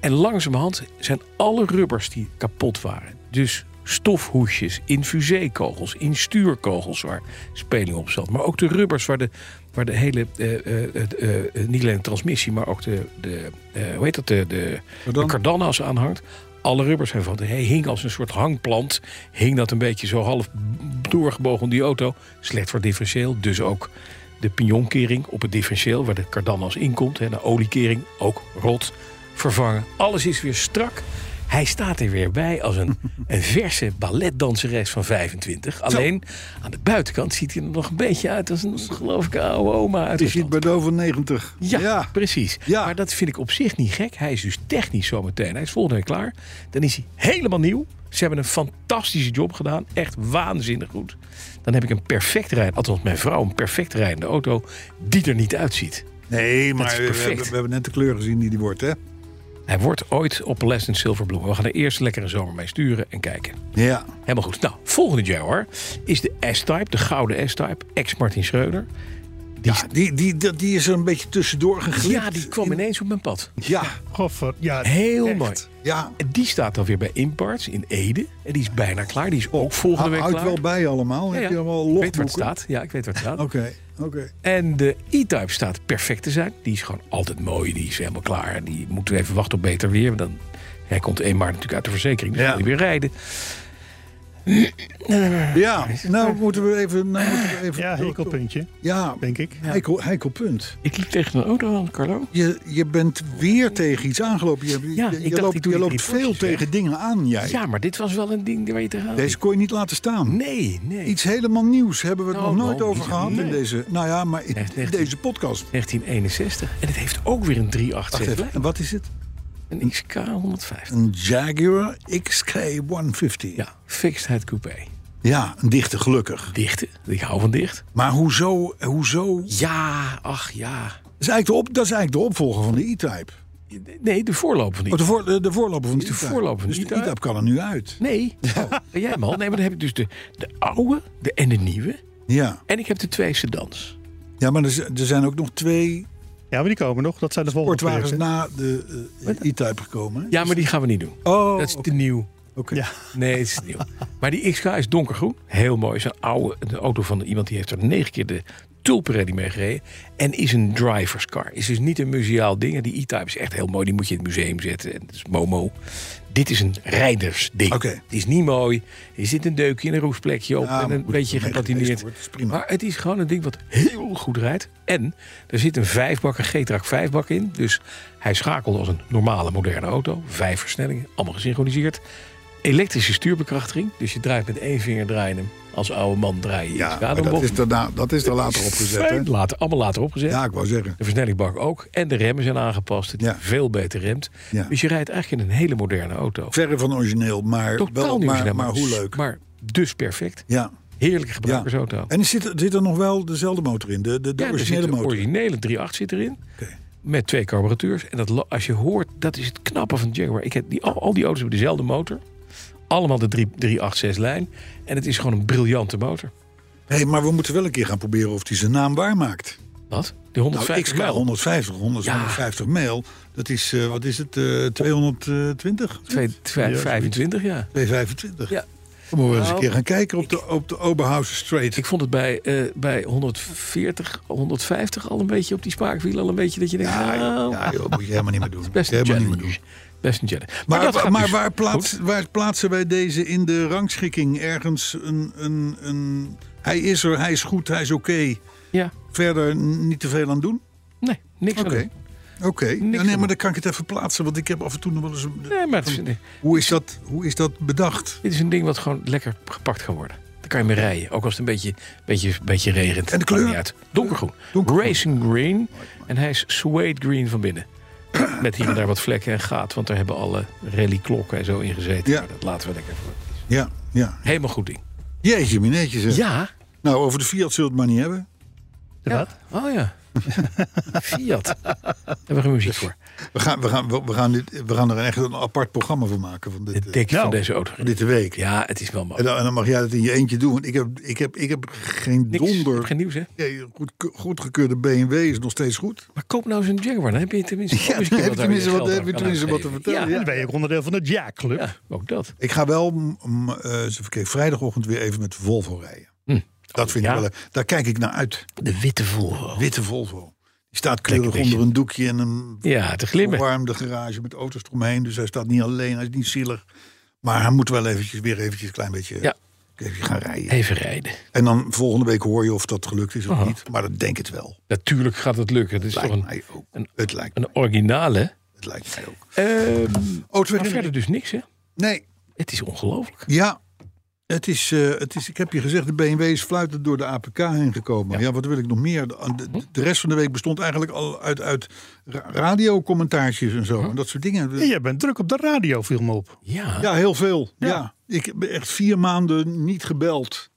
Speaker 3: En langzamerhand zijn alle rubbers die kapot waren. Dus stofhoesjes, in fusékogels, in stuurkogels waar speling op zat. Maar ook de rubbers waar de, waar de hele, eh, eh, het, eh, eh, niet alleen de transmissie, maar ook de, de eh, hoe heet dat, de, de, de cardanas aan hangt. Alle rubbers zijn van. Hij hing als een soort hangplant. Hing dat een beetje zo half doorgebogen om die auto. Slecht voor differentieel. Dus ook de pignonkering op het differentieel, waar de cardanas in komt. Hè, de oliekering, ook rot, vervangen. Alles is weer strak. Hij staat er weer bij als een, een verse balletdanseres van 25. Alleen aan de buitenkant ziet hij er nog een beetje uit als een geloof ik oude oma uit
Speaker 2: Die
Speaker 3: Rusland.
Speaker 2: ziet Bordeaux van 90.
Speaker 3: Ja, precies.
Speaker 2: Ja.
Speaker 3: Maar dat vind ik op zich niet gek. Hij is dus technisch zometeen. Hij is volgende week klaar. Dan is hij helemaal nieuw. Ze hebben een fantastische job gedaan. Echt waanzinnig goed. Dan heb ik een perfect rijdende, althans mijn vrouw, een perfect rijdende auto die er niet uitziet.
Speaker 2: Nee, maar
Speaker 3: is
Speaker 2: we, we
Speaker 3: perfect.
Speaker 2: hebben, we hebben net de kleur gezien die die wordt, hè?
Speaker 3: Hij wordt ooit op Les en Silverbloem. We gaan er eerst lekker een zomer mee sturen en kijken.
Speaker 2: Ja.
Speaker 3: Helemaal goed. Nou, volgende Jaguar is de S-Type, de gouden S-Type, ex-Martin Schreuder.
Speaker 2: Ja, die, die, die, die is er een beetje tussendoor geglipt.
Speaker 3: Ja, die kwam ineens op mijn pad.
Speaker 2: Ja,
Speaker 4: Goffer, ja,
Speaker 3: Heel
Speaker 4: echt.
Speaker 3: mooi.
Speaker 2: ja.
Speaker 3: En die staat dan weer bij Imparts in Ede. En die is bijna klaar. Die is ook volgende
Speaker 2: Hou-
Speaker 3: week
Speaker 2: Houdt
Speaker 3: klaar.
Speaker 2: wel bij allemaal.
Speaker 3: Ja,
Speaker 2: Heb
Speaker 3: ja.
Speaker 2: je allemaal
Speaker 3: ik
Speaker 2: logboeken?
Speaker 3: weet waar het staat. Ja, ik weet waar het staat.
Speaker 2: Oké, oké.
Speaker 3: En de E-Type staat perfect te zijn. Die is gewoon altijd mooi. Die is helemaal klaar. Die moeten we even wachten op beter weer. Want dan, hij komt 1 maart natuurlijk uit de verzekering. Dus
Speaker 2: Ja.
Speaker 3: kan hij weer rijden.
Speaker 2: Ja, nou moeten we even... Nou moeten we even
Speaker 4: Ja, hekelpuntje,
Speaker 2: Ja,
Speaker 4: denk ik.
Speaker 2: heikel, heikel punt.
Speaker 3: Ik liep tegen een auto aan, Carlo.
Speaker 2: Je, je bent weer tegen iets aangelopen. Je,
Speaker 3: Ja,
Speaker 2: je,
Speaker 3: ik
Speaker 2: je
Speaker 3: dacht, ik
Speaker 2: loopt,
Speaker 3: doe
Speaker 2: je
Speaker 3: die
Speaker 2: loopt
Speaker 3: drie
Speaker 2: veel
Speaker 3: vorkjes weg.
Speaker 2: tegen dingen aan, jij.
Speaker 3: Ja, maar dit was wel een ding waar je tegenaan
Speaker 2: Deze kon je niet laten staan.
Speaker 3: Nee, nee.
Speaker 2: Iets helemaal nieuws hebben we het
Speaker 3: Nou,
Speaker 2: nog nooit
Speaker 3: nou,
Speaker 2: over
Speaker 3: niet-
Speaker 2: gehad
Speaker 3: nee.
Speaker 2: in deze... Nou ja, maar in,
Speaker 3: Echt, echt.
Speaker 2: deze podcast.
Speaker 3: 1961. En het heeft ook weer een 386
Speaker 2: Wacht even,
Speaker 3: lijn.
Speaker 2: en wat is het?
Speaker 3: Een XK 150.
Speaker 2: Een Jaguar XK150.
Speaker 3: Ja, fixed head coupé.
Speaker 2: Ja, een dichte gelukkig.
Speaker 3: Dichten. Ik hou van dicht.
Speaker 2: Maar hoezo, hoezo? Dat
Speaker 3: Ja, ach ja.
Speaker 2: is eigenlijk de, op, dat is eigenlijk de opvolger van de E-Type.
Speaker 3: Nee, de voorloper van die.
Speaker 2: Oh, de, voor, de, de voorloper van de,
Speaker 3: De
Speaker 2: E-Type.
Speaker 3: voorloper van de
Speaker 2: dus de
Speaker 3: E-Type.
Speaker 2: E-Type kan er nu uit.
Speaker 3: (laughs) Nee, Oh, ben jij man. Nee, maar dan heb ik dus de, de oude de, en de nieuwe.
Speaker 2: Ja,
Speaker 3: En ik heb de twee sedans.
Speaker 2: ja maar er, z- er zijn ook nog twee
Speaker 4: Ja, maar die komen nog. Dat zijn de volgende
Speaker 2: sportwagens
Speaker 4: projecten.
Speaker 2: na de eh, E-Type gekomen. hè?
Speaker 3: Ja, maar die gaan we niet doen.
Speaker 2: Oh,
Speaker 3: Dat is te nieuw.
Speaker 2: oké.
Speaker 4: Ja. (laughs)
Speaker 3: Nee, het is
Speaker 2: (laughs)
Speaker 3: te nieuw. Maar die XK is donkergroen. Heel mooi. Is een oude een auto van iemand die heeft er negen keer de Tulpenrally mee gereden. En is een driver's car. Is dus niet een museaal ding. En die E-Type is echt heel mooi. Die moet je in het museum zetten. En dat is Momo. Dit is een rijdersding.
Speaker 2: Oké.
Speaker 3: Het is niet mooi. Er zit een deukje en een roestplekje op.
Speaker 2: Ja,
Speaker 3: en
Speaker 2: maar
Speaker 3: een
Speaker 2: goed,
Speaker 3: beetje
Speaker 2: ermee
Speaker 3: gepatineerd.
Speaker 2: geweest wordt, is prima.
Speaker 3: Maar het is gewoon een ding wat heel goed rijdt. En er zit een vijfbak, een G-Track vijfbak in. Dus hij schakelt als een normale moderne auto. Vijf versnellingen, allemaal gesynchroniseerd. Elektrische stuurbekrachtiging. Dus je draait met één vinger draaien hem. Als oude man draai je
Speaker 2: Ja,
Speaker 3: je
Speaker 2: maar dat is, daarna, dat is er later opgezet. Hè?
Speaker 3: Later, allemaal later opgezet.
Speaker 2: Ja, ik wou zeggen.
Speaker 3: De versnellingbak ook. En de remmen zijn aangepast. Het
Speaker 2: Ja.
Speaker 3: veel beter remt.
Speaker 2: Ja.
Speaker 3: Dus je rijdt eigenlijk in een hele moderne auto.
Speaker 2: Verre van origineel, maar,
Speaker 3: Totaal
Speaker 2: wel,
Speaker 3: nieuw
Speaker 2: maar,
Speaker 3: snelheid,
Speaker 2: maar hoe leuk.
Speaker 3: Maar dus perfect.
Speaker 2: Ja,
Speaker 3: Heerlijke
Speaker 2: ja.
Speaker 3: gebruikersauto.
Speaker 2: En er zit, zit er nog wel dezelfde motor in, de, de, de
Speaker 3: ja, er zit
Speaker 2: originele
Speaker 3: een
Speaker 2: motor.
Speaker 3: originele 3.8 zit erin.
Speaker 2: Oké.
Speaker 3: Met twee carburateurs. En dat, lo- als je hoort, dat is het knappe van de Jaguar. Ik heb die, al, al die auto's hebben dezelfde motor. Allemaal de 3- 386 lijn. En het is gewoon een briljante motor.
Speaker 2: hey, maar we moeten wel een keer gaan proberen of hij zijn naam waar maakt.
Speaker 3: Wat? Die
Speaker 2: Nou,
Speaker 3: 150
Speaker 2: XK
Speaker 3: mijl?
Speaker 2: 150, 100,
Speaker 3: Ja.
Speaker 2: 150 mail. Dat is, eh, wat is het, eh 220?
Speaker 3: Twee- twee- 25, ja.
Speaker 2: 225.
Speaker 3: ja.
Speaker 2: Dan moeten we eens een
Speaker 3: Nou,
Speaker 2: keer gaan kijken op de, op de Oberhauser Strait.
Speaker 3: Ik vond het bij, eh, bij 140, 150 al een beetje op die spaakwiel. Al een beetje dat je denkt,
Speaker 2: ja,
Speaker 3: nou,
Speaker 2: Ah, joh, ja, joh, moet je helemaal niet meer doen. Moet
Speaker 3: best
Speaker 2: je
Speaker 3: een
Speaker 2: helemaal niet meer doen.
Speaker 3: challenge. Best een challenge. Maar,
Speaker 2: Maar,
Speaker 3: dat
Speaker 2: maar,
Speaker 3: gaat dus
Speaker 2: waar,
Speaker 3: goed.
Speaker 2: plaats, waar plaatsen wij deze in de rangschikking? Ergens een, een, een... Hij is er, hij is goed, hij is oké.
Speaker 3: Ja,
Speaker 2: Verder n- niet te veel aan doen?
Speaker 3: nee, niks aan
Speaker 2: Oké.
Speaker 3: doen.
Speaker 2: Oké,
Speaker 3: Niks
Speaker 2: nee,
Speaker 3: aan
Speaker 2: maar
Speaker 3: doen.
Speaker 2: dan kan ik het even plaatsen, want ik heb af en toe nog wel eens... een-
Speaker 3: Nee, maar het is, nee.
Speaker 2: Hoe is dat, hoe is dat bedacht?
Speaker 3: Dit is een ding wat gewoon lekker gepakt kan worden. Daar kan je mee rijden. Ook als het een beetje, beetje, beetje regent.
Speaker 2: En de
Speaker 3: Maakt
Speaker 2: kleur?
Speaker 3: Niet uit. Donkergroen.
Speaker 2: Donkergroen.
Speaker 3: Racing green. En hij is suede green van binnen. (clears throat) Met hier en daar wat vlekken en gaat. Want daar hebben alle rallyklokken en zo in gezeten.
Speaker 2: Ja.
Speaker 3: Maar dat laten we lekker voor.
Speaker 2: Ja, ja.
Speaker 3: Helemaal goed ding.
Speaker 2: Jeetje, mineetje zeg.
Speaker 3: Ja.
Speaker 2: Nou, over de Fiat zult het maar niet hebben.
Speaker 4: Wat?
Speaker 3: (laughs) Oh ja. Fiat. Daar hebben we geen muziek voor.
Speaker 2: We gaan, we, gaan, we, we gaan dit, we gaan er echt een apart programma van maken. Van dit,
Speaker 3: De dek
Speaker 4: Nou,
Speaker 3: van deze auto.
Speaker 2: eh, dit week.
Speaker 3: Ja, het is wel mooi.
Speaker 2: En dan, en dan mag jij dat in je eentje doen. Want ik heb, ik heb, ik heb geen
Speaker 3: Niks. Ik
Speaker 2: donder.
Speaker 3: heb geen nieuws, hè?
Speaker 2: Nee, goed, goedgekeurde BMW is nog steeds goed.
Speaker 3: Maar koop nou eens een Jaguar. Dan heb je tenminste,
Speaker 2: Ja,
Speaker 3: ook eens
Speaker 2: dan
Speaker 3: een
Speaker 2: heb
Speaker 3: keer
Speaker 2: je tenminste
Speaker 3: aan
Speaker 2: wat-
Speaker 3: geld
Speaker 2: heb je
Speaker 3: aan
Speaker 2: tenminste wat te
Speaker 3: uitgeven.
Speaker 2: vertellen,
Speaker 4: En dan ben je ook onderdeel van de Jack Club.
Speaker 3: Ja, ja, ook dat.
Speaker 2: Ik ga wel mm, mm, eh, eens even kijken, vrijdagochtend weer even met Volvo rijden. Dat vind
Speaker 3: Hm. ja.
Speaker 2: ik wel. eh, Daar kijk ik naar uit.
Speaker 3: De witte Volvo.
Speaker 2: Witte Volvo. Die staat kleurig
Speaker 3: Lekker
Speaker 2: onder een doekje en een
Speaker 3: Ja, te glimmen.
Speaker 2: verwarmde garage met auto's eromheen. Dus hij staat niet alleen, hij is niet zielig. Maar hij moet wel eventjes, weer eventjes een klein beetje
Speaker 3: Ja.
Speaker 2: even gaan rijden.
Speaker 3: Even rijden.
Speaker 2: En dan volgende week hoor je of dat gelukt is of niet. Maar dat denk het wel.
Speaker 3: Natuurlijk gaat het lukken. Het is toch
Speaker 2: Lijkt
Speaker 3: een,
Speaker 2: mij ook. het, lijkt,
Speaker 3: een originale.
Speaker 2: het lijkt mij ook.
Speaker 3: Ehm
Speaker 2: Oh, twee
Speaker 3: maar verder dus niks, hè?
Speaker 2: Nee,
Speaker 3: Het is ongelooflijk.
Speaker 2: ja. Het is, eh, het is, ik heb je gezegd, de BMW is fluitend door de APK heen gekomen. Ja, Hm? wat wil ik nog meer? De, de- de rest van de week bestond eigenlijk al uit, uit ra- radiocommentaartjes en zo. En dat soort dingen.
Speaker 4: En jij bent druk op de radio, viel me op.
Speaker 3: Ja.
Speaker 2: Ja, heel veel. Ja.
Speaker 4: Ja.
Speaker 2: Ik heb echt vier maanden niet gebeld.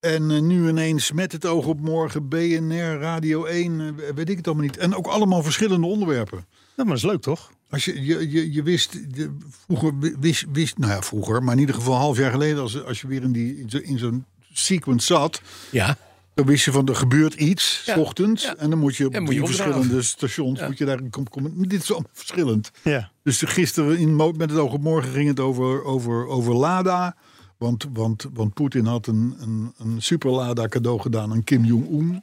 Speaker 2: En eh, nu ineens met het oog op morgen, BNR, Radio 1, eh, weet ik het allemaal niet. En ook allemaal verschillende onderwerpen.
Speaker 4: Nou, maar dat is leuk toch?
Speaker 2: Als je, je, je, je wist, je- vroeger wi- wist, wist, nou ja, vroeger, maar in ieder geval een half jaar geleden, als, als je weer in, die, in zo- in zo'n sequence zat,
Speaker 3: ja.
Speaker 2: dan wist je van er gebeurt iets, s
Speaker 3: Ja,
Speaker 2: ochtends.
Speaker 3: ja.
Speaker 2: En dan moet je op
Speaker 3: En moet je
Speaker 2: die
Speaker 3: opdraven.
Speaker 2: verschillende stations, moet je daar komen. dit is allemaal verschillend.
Speaker 4: Ja.
Speaker 2: Dus gisteren in, Mo- met het oog op morgen ging het over, over, over Lada. Want, want, want Poetin had een, een, een super Lada cadeau gedaan aan Kim
Speaker 3: (laughs)
Speaker 2: Jong-un.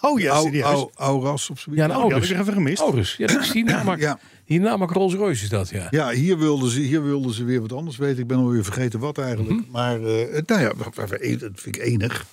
Speaker 4: Oh ja,
Speaker 2: Au-
Speaker 4: serieus.
Speaker 2: au- Auras of zoiets.
Speaker 3: Ja, nou,
Speaker 4: Oh, die had ik er even gemist.
Speaker 3: Aurus. Ja, dat is die namak,
Speaker 2: Ja.
Speaker 3: die namak Rolls Royce is dat, ja.
Speaker 2: Ja, hier wilden, ze, hier wilden ze weer wat anders weten. Ik ben alweer vergeten wat eigenlijk.
Speaker 3: Mhm.
Speaker 2: Maar eh, het- nou ja, w- w- w- dat vind ik enig.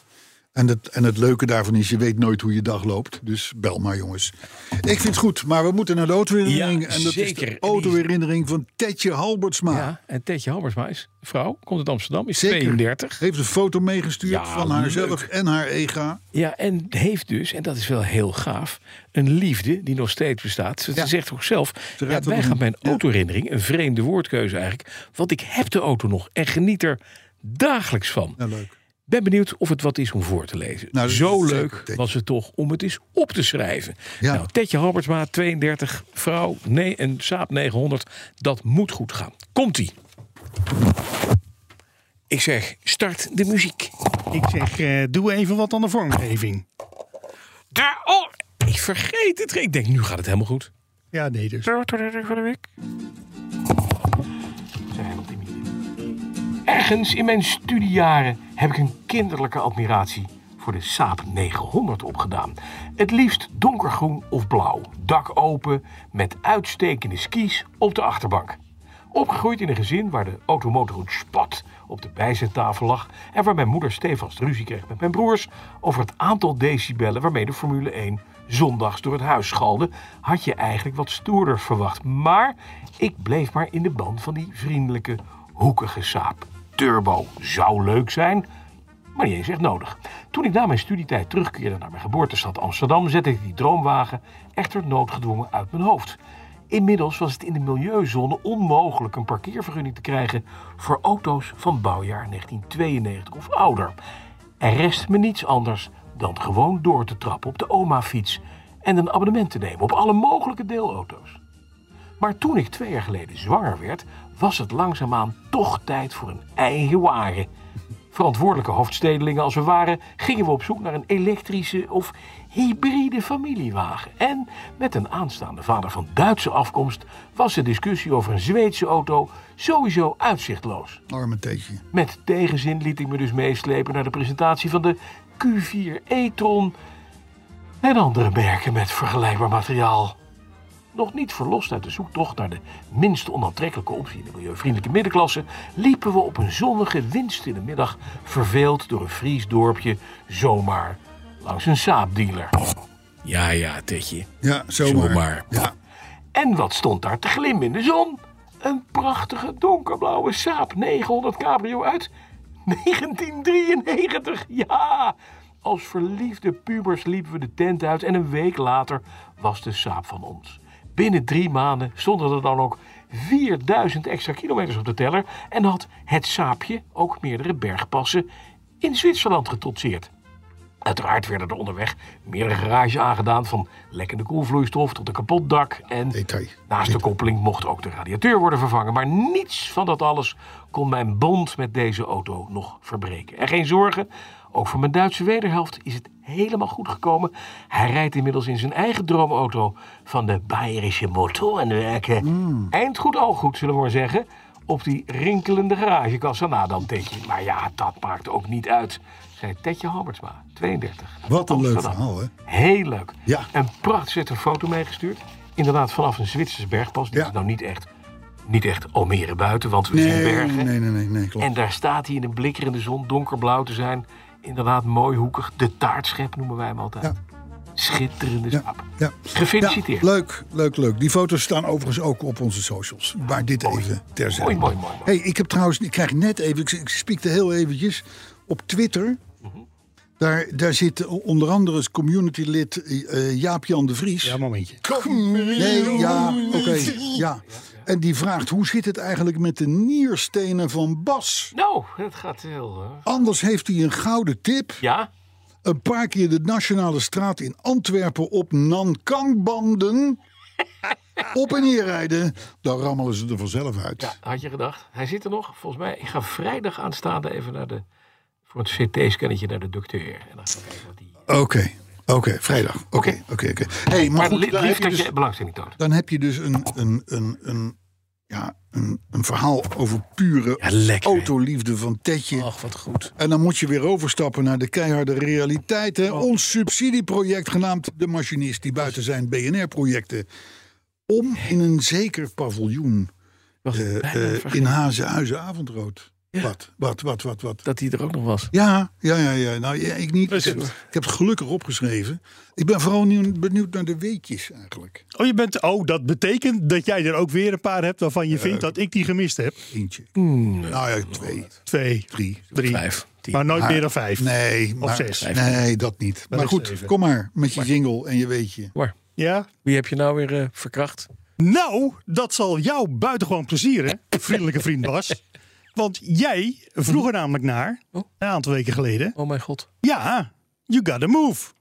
Speaker 2: En het, en het leuke daarvan is, je weet nooit hoe je dag loopt. Dus bel maar jongens. Ik vind het goed, maar we moeten naar de autoherinnering.
Speaker 3: Ja,
Speaker 2: en dat
Speaker 3: zeker.
Speaker 2: is
Speaker 3: En
Speaker 2: de
Speaker 3: die is-
Speaker 2: autoherinnering van Tetje Halbertsma.
Speaker 3: Ja, en Tetje Halbersma is vrouw, komt uit Amsterdam, is
Speaker 2: Zeker.
Speaker 3: 32.
Speaker 2: Heeft een foto meegestuurd
Speaker 3: Ja,
Speaker 2: van haarzelf
Speaker 3: leuk.
Speaker 2: en haar ega.
Speaker 3: Ja, en heeft dus, en dat is wel heel gaaf, een liefde die nog steeds bestaat. Ze
Speaker 2: Ja.
Speaker 3: zegt ook zelf,
Speaker 2: Ze
Speaker 3: ja,
Speaker 2: raadt
Speaker 3: wij
Speaker 2: het
Speaker 3: gaan
Speaker 2: niet.
Speaker 3: mijn
Speaker 2: Ja.
Speaker 3: autoherinnering, een vreemde woordkeuze eigenlijk, want ik heb de auto nog en geniet er dagelijks van.
Speaker 2: Nou, leuk.
Speaker 3: Ben benieuwd of het wat is om voor te lezen.
Speaker 2: Nou, dat
Speaker 3: Zo
Speaker 2: is
Speaker 3: leuk
Speaker 2: zeker, Tetje.
Speaker 3: was het toch om het eens op te schrijven.
Speaker 2: Ja.
Speaker 3: Nou, Tetje Halbertsma, 32, vrouw, nee, en Saab 900. Dat moet goed gaan. Komt-ie. Ik zeg, start de muziek.
Speaker 4: Ik zeg, eh, doe even wat aan de vormgeving.
Speaker 3: Daar, oh, ik vergeet het. Ik denk, nu gaat het helemaal goed.
Speaker 4: Ja, nee dus.
Speaker 3: Zo, tot de van de week. Ergens in mijn studiejaren heb ik een kinderlijke admiratie voor de Saab 900 opgedaan. Het liefst donkergroen of blauw, dak open, met uitstekende skis op de achterbank. Opgegroeid in een gezin waar de automotorhoed spat op de bijzettafel lag en waar mijn moeder stevast ruzie kreeg met mijn broers over het aantal decibellen waarmee de Formule 1 zondags door het huis schalde, had je eigenlijk wat stoerders verwacht. Maar ik bleef maar in de band van die vriendelijke, hoekige saap. Turbo zou leuk zijn, maar niet eens echt nodig. Toen ik na mijn studietijd terugkeerde naar mijn geboortestad Amsterdam, zette ik die droomwagen echter noodgedwongen uit mijn hoofd. Inmiddels was het in de milieuzone onmogelijk een parkeervergunning te krijgen voor auto's van bouwjaar 1992 of ouder. Er rest me niets anders dan gewoon door te trappen op de oma-fiets en een abonnement te nemen op alle mogelijke deelauto's. Maar toen ik twee jaar geleden zwanger werd, was het langzaamaan toch tijd voor een eigen wagen. Verantwoordelijke hoofdstedelingen als we waren, gingen we op zoek naar een elektrische of hybride familiewagen. En met een aanstaande vader van Duitse afkomst was de discussie over een Zweedse auto sowieso uitzichtloos.
Speaker 2: Arme Tetje.
Speaker 3: Met tegenzin liet ik me dus meeslepen naar de presentatie van de Q4 e-tron en andere merken met vergelijkbaar materiaal. Nog niet verlost uit de zoektocht naar de minst onaantrekkelijke optie in de milieuvriendelijke middenklasse, liepen we op een zonnige, windstille middag verveeld door een Fries dorpje zomaar langs een saapdealer. Ja, ja, Tetje.
Speaker 2: Ja, zomaar.
Speaker 3: Zomaar.
Speaker 2: Ja.
Speaker 3: En wat stond daar te glimmen in de zon? Een prachtige donkerblauwe Saab 900 Cabrio uit 1993. Ja! Als verliefde pubers liepen we de tent uit en een week later was de Saab van ons. Binnen drie maanden stonden er dan ook 4000 extra kilometers op de teller en had het Saapje ook meerdere bergpassen in Zwitserland getrotseerd. Uiteraard werden er onderweg meerdere garages aangedaan, van lekkende koelvloeistof tot een kapot dak. En
Speaker 2: Detail.
Speaker 3: naast de koppeling mocht ook de radiateur worden vervangen. Maar niets van dat alles kon mijn bond met deze auto nog verbreken. En geen zorgen, ook voor mijn Duitse wederhelft is het helemaal goed gekomen. Hij rijdt inmiddels in zijn eigen droomauto van de Bayerische Motorenwerken.
Speaker 2: Hmm.
Speaker 3: Eind goed, al goed, zullen we maar zeggen. Op die rinkelende garagekassa na dan, Tetje. Maar ja, dat maakt ook niet uit, zei Tetje Hammersma, 32. uit
Speaker 2: Wat een leuk
Speaker 3: Amsterdam.
Speaker 2: verhaal, hè?
Speaker 3: Heel leuk.
Speaker 2: Ja.
Speaker 3: Een prachtige foto meegestuurd. Inderdaad, vanaf een Zwitsers bergpas. Dit
Speaker 2: Ja.
Speaker 3: is nou niet echt, niet echt Almere buiten, want we zijn
Speaker 2: Nee,
Speaker 3: bergen.
Speaker 2: nee, nee, nee, nee, klopt.
Speaker 3: En daar staat hij in een blikkerende zon, donkerblauw te zijn. Inderdaad, mooi hoekig. De taartschep noemen wij hem altijd.
Speaker 2: Ja.
Speaker 3: Schitterende
Speaker 2: Ja,
Speaker 3: schaap.
Speaker 2: ja.
Speaker 3: Gefeliciteerd.
Speaker 2: Ja, leuk, leuk, leuk. Die foto's staan overigens ook op onze socials. Maar dit even terzijde.
Speaker 3: Mooi, mooi, mooi, mooi.
Speaker 2: Hey, ik heb trouwens, ik krijg net even, ik, ik spiekte heel eventjes op Twitter.
Speaker 3: Mhm.
Speaker 2: Daar, daar zit onder andere het communitylid eh Jaap-Jan de Vries.
Speaker 4: Ja, momentje.
Speaker 2: Nee, ja, oké. ja. En die vraagt, hoe zit het eigenlijk met de nierstenen van Bas?
Speaker 3: Nou, het gaat heel... eh,
Speaker 2: Anders heeft hij een gouden tip.
Speaker 3: Ja?
Speaker 2: Een paar keer de Nationale Straat in Antwerpen op Nankangbanden op en neer rijden. Dan rammelen ze er vanzelf uit.
Speaker 3: ja, had je gedacht. Hij zit er nog. Volgens mij, ik ga vrijdag aanstaande even naar de... Voor het CT-scannetje naar de docteur. En dan ga ik kijken wat die...
Speaker 2: Oké, oké, vrijdag. Oké, oké, oké. Hey, maar
Speaker 3: Maar
Speaker 2: goed,
Speaker 3: li-
Speaker 2: dan heb
Speaker 3: lief
Speaker 2: je
Speaker 3: dat
Speaker 2: dus,
Speaker 3: je belangstelling toont.
Speaker 2: dan heb je dus een, een, een, een, ja, een, een verhaal over pure
Speaker 3: lekker, hè?
Speaker 2: autoliefde van Tetje.
Speaker 3: Ach, wat goed.
Speaker 2: En dan moet je weer overstappen naar de keiharde realiteit. Hè?
Speaker 3: Oh.
Speaker 2: Ons subsidieproject genaamd De Machinist, die buiten zijn BNR-projecten. Om in een zeker paviljoen
Speaker 3: Was
Speaker 2: eh,
Speaker 3: bijna
Speaker 2: eh,
Speaker 3: vergeten
Speaker 2: in Hazenhuizen avondrood. Wat, wat, wat, wat, wat.
Speaker 3: dat hij er ook nog was.
Speaker 2: Ja, ja, ja, ja. Nou, ja, ik niet. Ik heb, ik heb het gelukkig opgeschreven. Ik ben vooral nieuw- benieuwd naar de weetjes eigenlijk.
Speaker 4: Oh, je bent. Oh, dat betekent dat jij er ook weer een paar hebt waarvan je
Speaker 2: Eh,
Speaker 4: vindt dat ik die gemist heb.
Speaker 2: Eentje.
Speaker 4: Hmm.
Speaker 2: nou ja, twee,
Speaker 4: Twee,
Speaker 2: drie.
Speaker 4: drie.
Speaker 3: Vijf, tien.
Speaker 4: Maar nooit
Speaker 2: Maar-
Speaker 4: meer dan vijf.
Speaker 2: Nee, maar,
Speaker 4: zes.
Speaker 2: Nee, dat niet. Maar
Speaker 4: ik
Speaker 2: goed,
Speaker 4: zeven.
Speaker 2: kom maar met je jingle en je weetje.
Speaker 3: Maar
Speaker 4: Ja?
Speaker 3: wie heb je nou weer eh, verkracht?
Speaker 4: Nou, dat zal jou buitengewoon plezieren, vriendelijke vriend
Speaker 2: (laughs)
Speaker 4: Bas. Want jij vroeg er namelijk naar,
Speaker 2: Oh.
Speaker 4: een aantal weken geleden.
Speaker 3: Oh mijn god.
Speaker 4: Ja, you gotta move.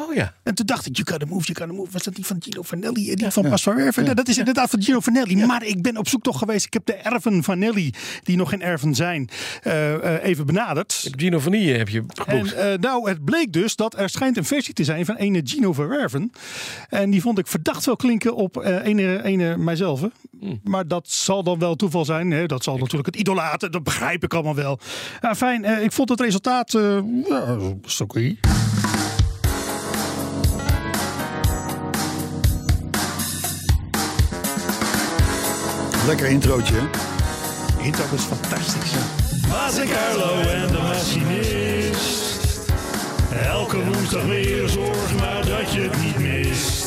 Speaker 3: Oh ja.
Speaker 4: En toen dacht ik, you gotta move, you gotta move. Was dat die van Gino Vanelli en die van Bas van Werven? Nou, dat is inderdaad van Gino Vanelli. Maar ik ben op zoek toch geweest. Ik heb de erven Vanelli, die nog geen erven zijn, eh, eh, even benaderd.
Speaker 3: Gino Vanille heb je geboekt.
Speaker 4: En eh, nou, het bleek dus dat er schijnt een versie te zijn van ene Gino Verwerven. En die vond ik verdacht wel klinken op eh ene, ene mijzelf. hè. Maar dat zal dan wel toeval zijn. Hè? Dat zal natuurlijk het idolaten, dat begrijp ik allemaal wel. Ja, fijn, eh, ik vond het resultaat... eh ja, is oké.
Speaker 2: Lekker introotje, hè?
Speaker 4: Intro is fantastisch. ja.
Speaker 5: Maas en Carlo en de machinist. Elke woensdag weer zorg maar dat je het niet mist.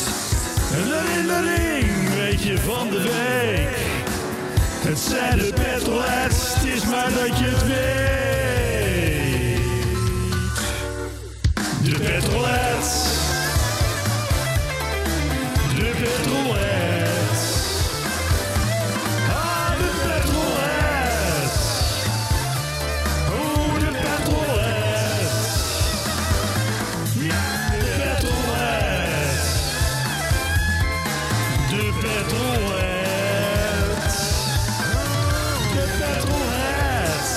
Speaker 5: Een herinnering weet je van de week. Het zijn de petrolheads, het is maar dat je het weet. De petrolheads. De petrolheads. Ah, de petrolheads. Oh, de petrolheads. Ja, de petrolheads. De petrolheads. De petrolheads.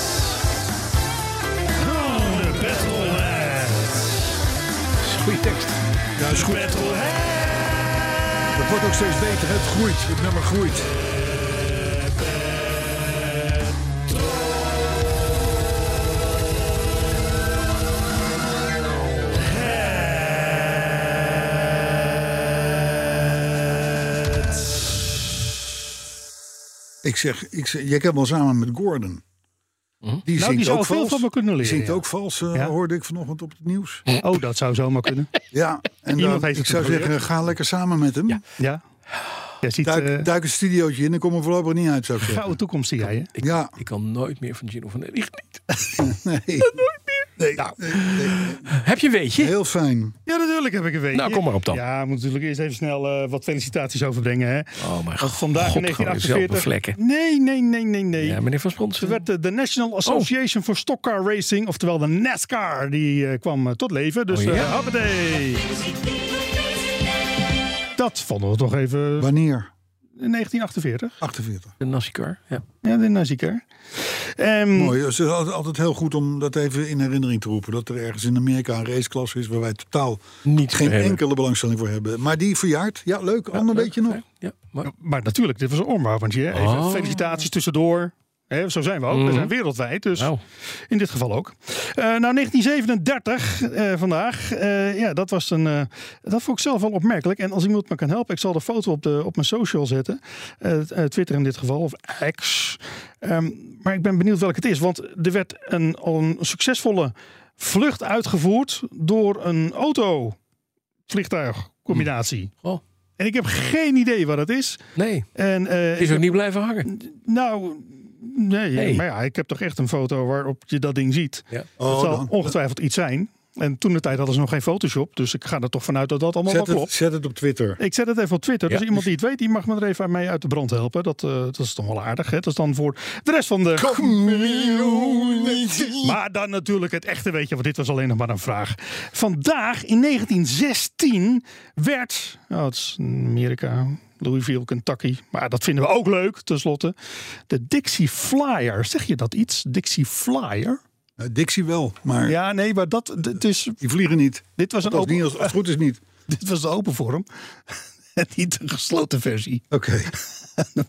Speaker 5: Oh, de petrolheads.
Speaker 3: goede tekst.
Speaker 2: Ja, is goed.
Speaker 5: Petrolheads.
Speaker 2: Dat wordt ook steeds beter. Het groeit. Het nummer groeit. Ik zeg, ik zeg, jij hebt wel samen met Gordon. Die
Speaker 4: Nou, die
Speaker 2: zingt
Speaker 4: zou
Speaker 2: ook
Speaker 4: veel
Speaker 2: vals.
Speaker 4: van me kunnen
Speaker 2: Die
Speaker 4: leren,
Speaker 2: zingt
Speaker 4: ja.
Speaker 2: ook vals, eh,
Speaker 4: Ja.
Speaker 2: hoorde ik vanochtend op het nieuws.
Speaker 4: Oh, dat zou zomaar kunnen.
Speaker 2: Ja, en
Speaker 4: Iemand
Speaker 2: dan,
Speaker 4: heeft
Speaker 2: ik
Speaker 4: het
Speaker 2: zou
Speaker 4: geprobeerd.
Speaker 2: zeggen, ga lekker samen met hem.
Speaker 4: Ja. Jij ziet
Speaker 2: Duik,
Speaker 4: eh
Speaker 2: duik een studiootje in, dan kom er voorlopig niet uit, zou ik zeggen.
Speaker 4: gouden toekomst zie jij. Hè?
Speaker 2: Ja,
Speaker 3: Ik kan nooit meer van Gino Vanille. Echt
Speaker 2: (laughs)
Speaker 3: niet.
Speaker 2: nee. Nee, nee, nee, nee.
Speaker 3: Heb je een weetje?
Speaker 2: Heel fijn.
Speaker 4: Ja, natuurlijk heb ik een weetje.
Speaker 3: Nou, kom maar op dan.
Speaker 4: Ja, we moeten natuurlijk eerst even snel eh, wat felicitaties overbrengen. Hè.
Speaker 3: Oh mijn
Speaker 4: Want vandaag in
Speaker 3: dezelfde
Speaker 4: 1948...
Speaker 3: vlekken.
Speaker 4: Nee, nee, nee, nee, nee.
Speaker 3: Ja, Oh. meneer Van Spronsen.
Speaker 4: Er werd eh, de National Association for Stock Car Racing, oftewel de NASCAR, die eh, kwam eh, tot leven. Dus
Speaker 3: Oh,
Speaker 4: eh,
Speaker 3: ja.
Speaker 4: hoppatee. Dat vonden we toch even
Speaker 2: Wanneer?
Speaker 4: in 1948.
Speaker 2: 48.
Speaker 3: De NASCAR. Ja.
Speaker 4: Ja, de NASCAR. Ehm,
Speaker 2: Mooi. Het is altijd altijd heel goed om dat even in herinnering te roepen. Dat er ergens in Amerika een raceklasse is waar wij totaal
Speaker 3: Niet
Speaker 2: geen
Speaker 3: hebben.
Speaker 2: enkele belangstelling voor hebben. Maar die verjaart. Ja, leuk. Ander beetje nog.
Speaker 3: Ja, maar
Speaker 4: Maar natuurlijk, dit was een oormouwentje. hè. Even
Speaker 3: Oh. Mhm.
Speaker 4: felicitaties tussendoor. Hè, zo zijn we ook. We zijn wereldwijd, dus
Speaker 3: Nou.
Speaker 4: in dit geval ook. Eh, nou, 1937 eh, vandaag. Eh, ja, dat was een... eh, dat vond ik zelf wel opmerkelijk. En als iemand me kan helpen, ik zal de foto op, de, op mijn social zetten. Eh, eh, Twitter in dit geval, of X. Ehm, maar ik ben benieuwd welk het is. Want er werd een, een succesvolle vlucht uitgevoerd door een auto-vliegtuigcombinatie.
Speaker 3: Oh.
Speaker 4: En ik heb geen idee wat het is.
Speaker 3: Nee,
Speaker 4: En, eh,
Speaker 3: is ook niet blijven hangen.
Speaker 4: Nou, nee,
Speaker 3: Nee.
Speaker 4: maar ja, ik heb toch echt een foto waarop je dat ding ziet.
Speaker 3: Ja.
Speaker 4: dat zal
Speaker 2: Oh, dan.
Speaker 4: ongetwijfeld iets zijn. En toen de tijd hadden ze nog geen Photoshop, dus ik ga er toch vanuit dat dat allemaal
Speaker 2: Zet
Speaker 4: wel
Speaker 2: het,
Speaker 4: klopt.
Speaker 2: zet het op Twitter.
Speaker 4: Ik zet het even op Twitter,
Speaker 3: Ja.
Speaker 4: dus iemand die het weet, die mag me er even mee uit de brand helpen. Dat, eh, dat is toch wel aardig, hè? Dat is dan voor de rest van de... Maar dan natuurlijk het echte, weet je, want dit was alleen nog maar een vraag. Vandaag in 1916 werd, oh, het is Amerika, Louisville, Kentucky, maar dat vinden we ook leuk tenslotte. De Dixie Flyer, zeg je dat iets? Dixie Flyer?
Speaker 2: Eh, Dixie wel, maar
Speaker 4: Ja, nee, maar dat, dit, is,
Speaker 2: die vliegen niet.
Speaker 4: dit, was een
Speaker 2: Dat is
Speaker 4: open,
Speaker 2: niet als, als het goed is niet.
Speaker 4: dit was de open vorm. (laughs) En niet de gesloten versie. (laughs)
Speaker 2: Oké.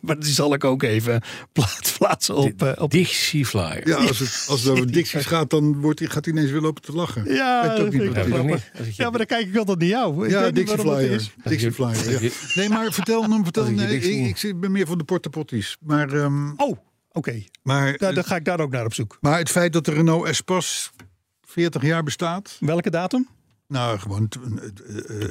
Speaker 4: Maar die zal ik ook even plaats- plaatsen op, eh, op
Speaker 3: Dixie Flyer.
Speaker 2: Ja, als het, als het over Dixies gaat, dan wordt, hij- gaat hij ineens weer lopen te lachen.
Speaker 4: Ja,
Speaker 2: Weet ook
Speaker 4: dat vind
Speaker 2: niet
Speaker 4: ik
Speaker 2: wat
Speaker 4: ook
Speaker 2: het is.
Speaker 3: Ook
Speaker 4: maar-
Speaker 3: niet. Als ik je-
Speaker 4: Ja, maar dan kijk ik altijd naar jou. Ik
Speaker 2: Ja,
Speaker 4: weet niet
Speaker 2: Dixie
Speaker 4: waarom dat
Speaker 2: Flyer.
Speaker 4: is.
Speaker 2: Dixie Flyer. ja. Nee, maar vertel hem, vertel hem.
Speaker 3: Dat is je
Speaker 2: Nee,
Speaker 3: Dixie.
Speaker 2: ik, ik zit- ben meer van de portapotties. Maar, ehm,
Speaker 4: Oh, oké.
Speaker 2: maar, eh,
Speaker 4: Nou, dan ga ik daar ook naar op zoek.
Speaker 2: maar het feit dat de Renault Espas 40 jaar bestaat.
Speaker 4: Welke datum?
Speaker 2: Nou, gewoon t- eh, eh,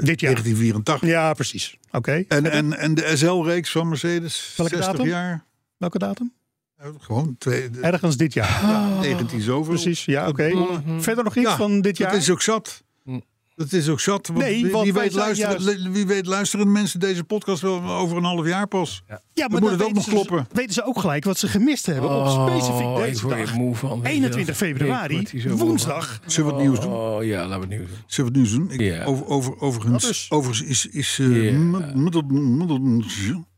Speaker 4: Dit jaar.
Speaker 2: 1984.
Speaker 4: Ja, precies. Oké.
Speaker 2: En, en, en de SL-reeks van Mercedes.
Speaker 4: Welke
Speaker 2: 60
Speaker 4: datum?
Speaker 2: jaar.
Speaker 4: Welke datum?
Speaker 2: Eh, Gewoon twee, de-
Speaker 4: Ergens dit jaar.
Speaker 3: oh.
Speaker 2: 19 zoveel.
Speaker 4: Oh, Precies, ja, oké.
Speaker 3: Mm-hmm.
Speaker 4: Verder nog iets
Speaker 2: Ja,
Speaker 4: van dit jaar?
Speaker 2: Dat is ook zat.
Speaker 3: Mm.
Speaker 2: Dat is ook zat. Want
Speaker 4: Nee,
Speaker 2: wie,
Speaker 4: want
Speaker 2: wie
Speaker 4: wij
Speaker 2: weet
Speaker 4: zijn
Speaker 2: luisteren,
Speaker 4: juist-
Speaker 2: le- wie weet luisteren de mensen deze podcast wel over een half jaar pas.
Speaker 4: ja,
Speaker 2: dan moet het
Speaker 4: weten
Speaker 2: ook nog
Speaker 4: ze-
Speaker 2: kloppen.
Speaker 4: weten ze ook gelijk wat ze gemist hebben op specifiek
Speaker 3: Oh, ik
Speaker 4: deze
Speaker 3: word er
Speaker 4: dag.
Speaker 3: moe van.
Speaker 4: 21
Speaker 3: Ik word hier
Speaker 4: februari,
Speaker 3: zo moe van.
Speaker 4: woensdag.
Speaker 2: Zullen we het nieuws doen?
Speaker 3: Oh ja, laten we het nieuws doen.
Speaker 2: Zullen we het nieuws doen? Ik,
Speaker 3: Ja.
Speaker 2: over, over, overigens,
Speaker 4: Dat is-
Speaker 2: overigens is... is eh,
Speaker 3: Ja.
Speaker 2: mud- muddel- muddel-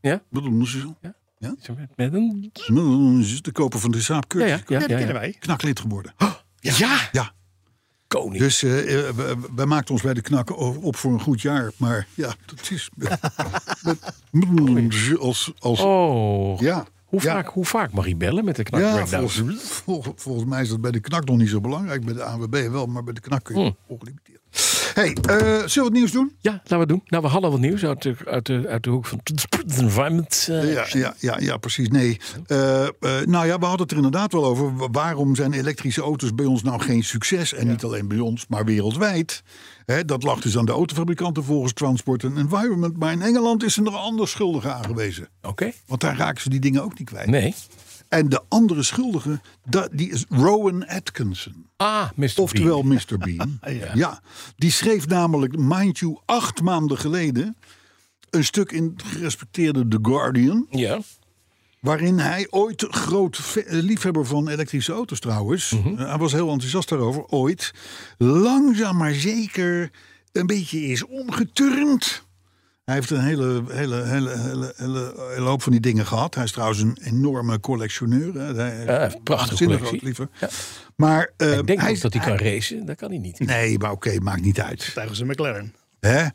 Speaker 3: Ja?
Speaker 2: muddel- muddel-
Speaker 3: Is er met- Met een...
Speaker 2: muddel- De koper van de Saab
Speaker 3: Ja,
Speaker 2: Kurt
Speaker 3: ja, ja.
Speaker 4: Ja,
Speaker 3: ja,
Speaker 4: dat
Speaker 3: ja.
Speaker 4: kennen wij.
Speaker 2: knaklid geworden.
Speaker 3: (gasps) Ja,
Speaker 2: Ja,
Speaker 3: koning.
Speaker 2: dus eh, eh, wij- wij maakten ons bij de knakken o- op voor een goed jaar. Maar ja, dat is... (laughs) met- met- muddel- als, als,
Speaker 3: Oh,
Speaker 2: ja.
Speaker 3: hoe,
Speaker 2: Ja.
Speaker 3: vaak, hoe vaak mag je bellen met de knak
Speaker 2: Ja,
Speaker 3: breakdown?
Speaker 2: volgens, vol- volgens mij is dat bij de knak nog niet zo belangrijk. Bij de ANWB wel, maar bij de knak kun je
Speaker 3: Hm.
Speaker 2: ongelimiteerd. hey, eh, zullen we het nieuws doen?
Speaker 3: Ja, laten we het doen. Nou, we hadden wat nieuws uit de, uit de, uit de hoek van... environment. eh.
Speaker 2: Ja, ja, ja, ja precies. Nee. Eh, eh, nou ja, we hadden het er inderdaad wel over. Wa- Waarom zijn elektrische auto's bij ons nou geen succes? En niet alleen bij ons, maar wereldwijd. Hè, dat lag dus aan de autofabrikanten volgens Transport and Environment. Maar in Engeland is er nog anders schuldige aangewezen.
Speaker 3: Oké.
Speaker 2: Want daar raken ze die dingen ook niet kwijt.
Speaker 3: Nee.
Speaker 2: En de andere schuldige, da- die is Rowan Atkinson.
Speaker 3: Ah, Mr. Bean.
Speaker 2: Oftewel Mr. Bean. ja. die schreef namelijk, mind you, acht maanden geleden. een stuk in het gerespecteerde The Guardian.
Speaker 3: Ja.
Speaker 2: Eh, waarin hij ooit groot ve- eh, liefhebber van elektrische auto's trouwens.
Speaker 3: Mhm.
Speaker 2: eh, hij was heel enthousiast daarover, ooit. langzaam maar zeker een beetje is omgeturnd. Hij heeft een hele, hele, hele, hele, hele, hele hoop van die dingen gehad. Hij is trouwens een enorme collectioneur. hè. Hij heeft
Speaker 3: Ja, een prachtige
Speaker 2: waanzinnig
Speaker 3: collectie.
Speaker 2: groot liever. Maar eh,
Speaker 3: Ik denk
Speaker 2: hij,
Speaker 3: ook dat hij kan racen. Dat kan hij niet.
Speaker 2: Nee, maar oké, maakt niet uit.
Speaker 4: Tijdens een McLaren.
Speaker 2: Hè?